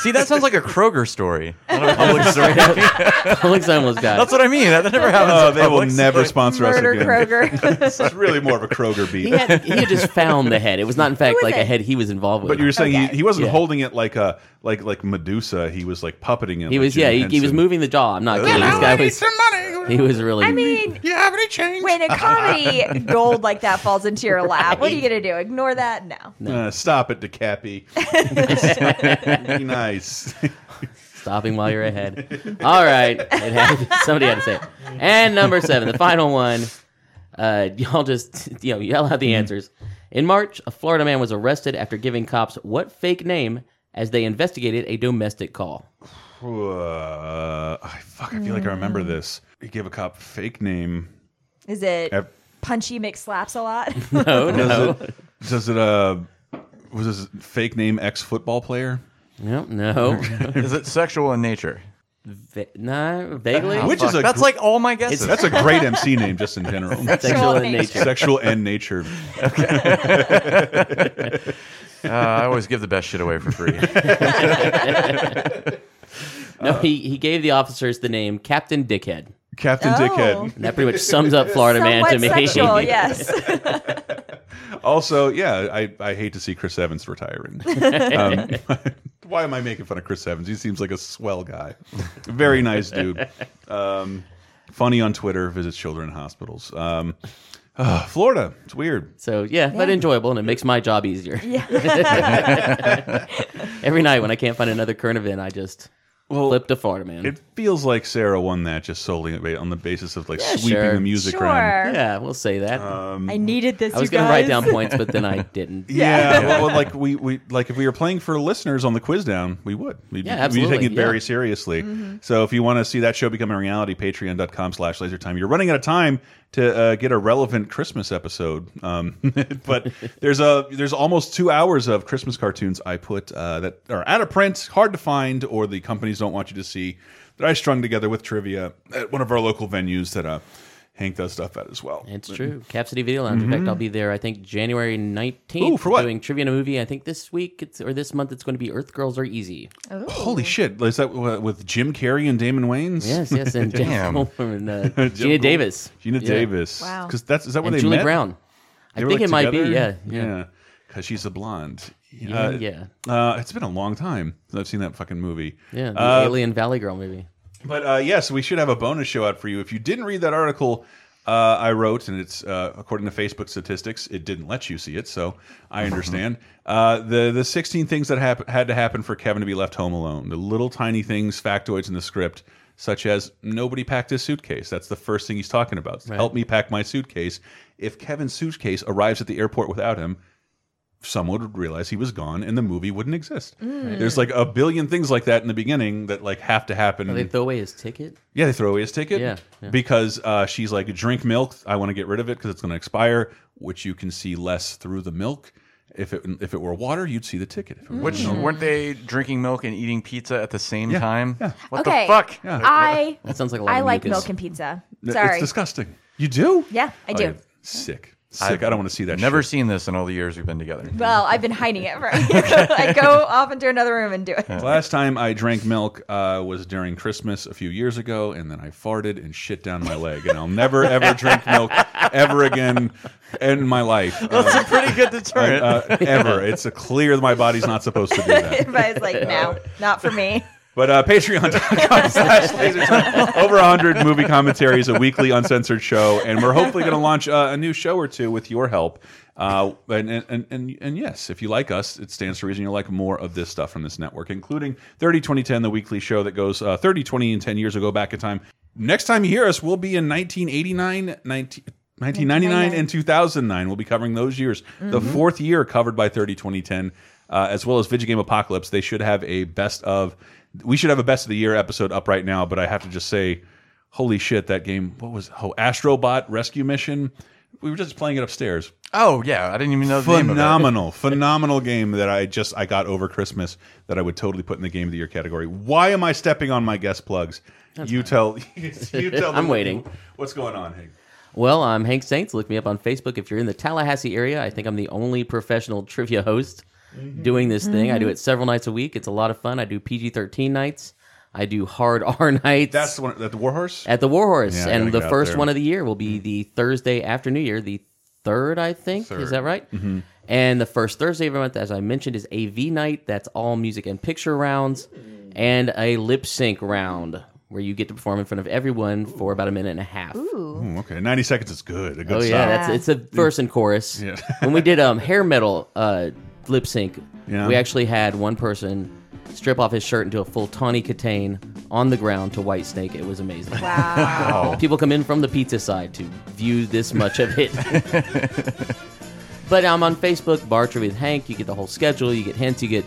B: See, that
A: (laughs)
B: sounds like a Kroger story, not a Publix story.
D: Publix homeless guy.
B: That's what I mean. That never
A: (laughs)
B: happens.
A: Oh,
B: at
A: they will
B: Publix.
A: never
B: Like,
A: sponsor us
C: Murder
A: again.
D: (laughs)
A: (laughs)
C: Kroger.
A: This is really more of a Kroger beat.
D: he, had, he had just found the head. It was not, in fact,
C: was
D: like a
C: it?
D: head he was involved with.
A: But you were saying he, he wasn't
D: Yeah.
A: holding it like a like like Medusa. He was like puppeting it.
D: He
A: like
D: was, yeah,
A: Jim
D: he, he was
A: Henson.
D: moving the jaw. I'm not kidding. This guy was, he was really.
C: I mean,
A: You have any change?
C: when a comedy
A: (laughs)
C: gold like that falls into your lap, what are you gonna do? Ignore that? No.
A: Uh, stop it,
C: (laughs)
A: DeCappy. Be nice.
D: stopping while you're ahead. All right, it had, (laughs) somebody had to say it. And number seven, the final one. Uh, y'all just you know yell out the answers. In March, a Florida man was arrested after giving cops what fake name as they investigated a domestic call.
A: Uh, I fuck, I feel like I
C: Mm.
A: remember this. He gave a cop a fake name.
C: Is it
A: Ev-
C: punchy McSlaps a lot?
D: (laughs) Oh (laughs) no,
A: Does it? Does it? Uh, was his fake name ex football player?
D: no, no, (laughs)
B: Is it sexual in nature? Oh,
D: Va- no, vaguely.
A: Which is
B: Fuck,
A: a
B: that's
A: gr-
B: like all my guesses.
A: that's a great MC name just in general.
D: sexual in nature?
A: Sexual and nature.
B: uh, I always give the best shit away
A: (laughs)
B: for free.
D: No, he he gave the officers the name Captain Dickhead.
A: Captain
C: Oh.
A: Dickhead.
D: And that pretty much sums up Florida man to
C: Somewhat
A: (laughs)
D: me.
C: sexual, yes.
A: Also, yeah, I, I hate to see Chris Evans
D: (laughs)
A: retiring. Um, (laughs) why am I making fun of Chris Evans? He seems like a swell guy. Very nice dude. Um, funny on Twitter, visits children in hospitals. Um, (sighs) ah, Florida, it's weird.
D: So yeah, but enjoyable, and it makes my job easier. (laughs) Every night when I can't find another current event, I just flip to Florida, man.
A: It feels like Sarah won that just solely ba- on the basis of like
D: Yeah,
A: sweeping
D: sure.
A: the music
C: sure.
A: around.
D: yeah, we'll say that.
C: I needed this.
D: I was
C: you
D: going to
C: guys.
D: write down points,
C: (laughs)
D: but then I didn't.
A: Uh, Yeah, well, well, like we, we like if we were playing for listeners on the quiz down, we would. We'd,
D: Yeah,
A: we'd be taking it
D: absolutely,
A: very
D: yeah. Mm-hmm.
A: seriously. So if you want to see that show become a reality, patreon.com slash lasertime. You're running out of time to uh, get a relevant Christmas episode. Um, (laughs) but there's a there's almost two hours of Christmas cartoons I put uh, that are out of print, hard to find, or the companies don't want you to see that I strung together with trivia at one of our local venues that uh Hank does stuff at as well.
D: It's true. Cap City Video Lounge.
C: Mm-hmm.
D: In fact, I'll be there. I think January nineteenth.
A: Ooh, for what?
D: Doing trivia and a movie. I think this week it's, or this month it's going to be Earth Girls Are Easy.
C: Oh.
A: Holy shit! Is that uh, with Jim Carrey and Damon Wayans?
D: Yes,
A: (laughs)
D: yes, and
B: Damn.
D: Jennifer and uh, Gina Davis.
A: Gina
D: Yeah.
A: Davis.
C: Wow.
A: Because that's is that where
D: and
A: they
D: Julie
A: met?
D: Brown. I
A: They were,
D: think
A: like,
D: it might be. Yeah,
A: together?
D: yeah,
A: yeah. Because she's a blonde.
D: yeah.
A: Uh,
D: yeah.
A: Uh, it's been a long time since I've seen that fucking movie.
D: Yeah, the
A: Uh,
D: Alien Valley Girl movie.
A: But uh, yes, we should have a bonus show out for you. If you didn't read that article uh, I wrote, and it's uh, according to Facebook statistics, it didn't let you see it, so I understand. uh, the the 16 things that hap had to happen for Kevin to be left home alone. The little tiny things, factoids in the script, such as nobody packed his suitcase. That's the first thing he's talking about. Help me pack my suitcase. If Kevin's suitcase arrives at the airport without him, someone would realize he was gone and the movie wouldn't exist. There's like a billion things like that in the beginning that like have to happen.
D: They throw away his ticket.
A: Yeah, they throw away his ticket.
D: Yeah, yeah.
A: Because uh, she's like, drink milk. I want to get rid of it because it's going to expire, which you can see less through the milk. If it if it were water, you'd see the ticket. If it were
B: Which weren't they drinking milk and eating pizza at the same
A: Yeah,
B: time?
A: yeah.
B: What the
C: Okay.
B: fuck? (laughs)
C: I
D: That sounds like a lot.
C: I
D: of
C: like
D: mucus.
C: milk and pizza.
A: It's
C: Sorry.
A: disgusting. You do?
C: Yeah, I
A: Oh,
C: do.
A: yeah. Sick. Sick. I don't want to see that.
B: Never
A: shit.
B: seen this in all the years we've been together.
C: Well, I've been hiding
B: (laughs)
C: (laughs) it from you. I go off into another room and do it. (laughs)
A: Last time I drank milk uh, was during Christmas a few years ago, and then I farted and shit down my leg, and I'll never ever drink milk ever again in my life.
B: That's
C: (laughs)
A: Uh,
B: a
A: (laughs)
B: pretty good deterrent.
A: uh, ever. It's a clear my body's not supposed to do that.
C: but it's like, no, not for me.
A: But uh, patreon.com (laughs) slash lasertime. Over 100 movie commentaries, a weekly uncensored show. And we're hopefully going to launch uh, a new show or two with your help. Uh, and, and, and, and, and yes, if you like us, it stands to reason you'll like more of this stuff from this network, including 30 2010, the weekly show that goes uh, 30, 20, and 10 years ago back in time. Next time you hear us, we'll be in 1989, 19, 1999, and 2009. We'll be covering those years. The fourth year covered by 30 2010, uh, as well as Video Game Apocalypse. They should have a best of. We should have a best of the year episode up right now, but I have to just say, holy shit, that game. What was oh Astrobot Rescue Mission? We were just playing it upstairs.
B: oh yeah, I didn't even know the name of it.
A: (laughs) Phenomenal, phenomenal game that I just I got over Christmas that I would totally put in the game of the year category. Why am I stepping on my guest plugs? you tell (laughs)
D: (laughs)
A: you tell
D: I'm
A: them
D: waiting.
A: What's going on, Hank?
D: Well, I'm Hank Saints. Look me up on Facebook if you're in the Tallahassee area. I think I'm the only professional trivia host
A: Mm-hmm.
D: doing this thing.
C: Mm-hmm.
D: I do it several nights a week. It's a lot of fun. I do PG-13 nights. I do hard (laughs) R nights.
A: That's the one that the Warhorse?
D: at the Warhorse,
A: Yeah, I gotta
D: and the
A: get out
D: first
A: there. Mm-hmm.
D: one of the year will be the Thursday after New Year, the third, I think.
A: Third.
D: Is that right? Mm-hmm. And the first Thursday of every month, as I mentioned, is AV night. That's all music and picture rounds,
A: Mm.
D: and a lip sync round where you get to perform in front of everyone for about a minute and a half.
C: Ooh.
A: Ooh, Hmm, okay, ninety seconds is good. A good
D: Oh
A: song.
D: yeah, that's it's a verse and chorus.
A: Yeah.
D: (laughs) when we did um hair metal uh lip sync,
A: Yeah.
D: we actually had one person strip off his shirt into a full Tawny Catane on the ground to White Snake. It was amazing.
C: Wow.
D: People come in from the pizza side to view this much of
A: (laughs)
D: it. but I'm on Facebook, Bar Trivia with Hank. You get the whole schedule, you get hints, you get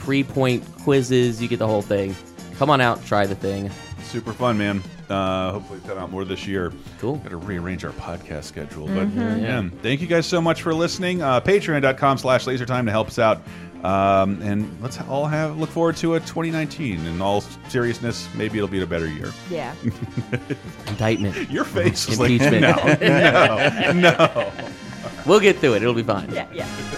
D: pre-point quizzes, you get the whole thing. Come on out, try the thing.
A: Super fun, man. Uh, hopefully, come out more this year.
D: Cool.
A: Got to rearrange our podcast schedule, but yeah. Thank you guys so much for listening. Uh, Patreon.com/slash LaserTime to help us out, um, and let's all have look forward to a 2019. In all seriousness, maybe it'll be a better year.
C: Yeah.
D: Indictment.
A: Your
D: (laughs)
A: face is like
D: Mm-hmm.
A: (laughs)
D: Impeachment.
A: no, no.
D: (laughs) We'll get through it. It'll be fine.
C: Yeah. Yeah.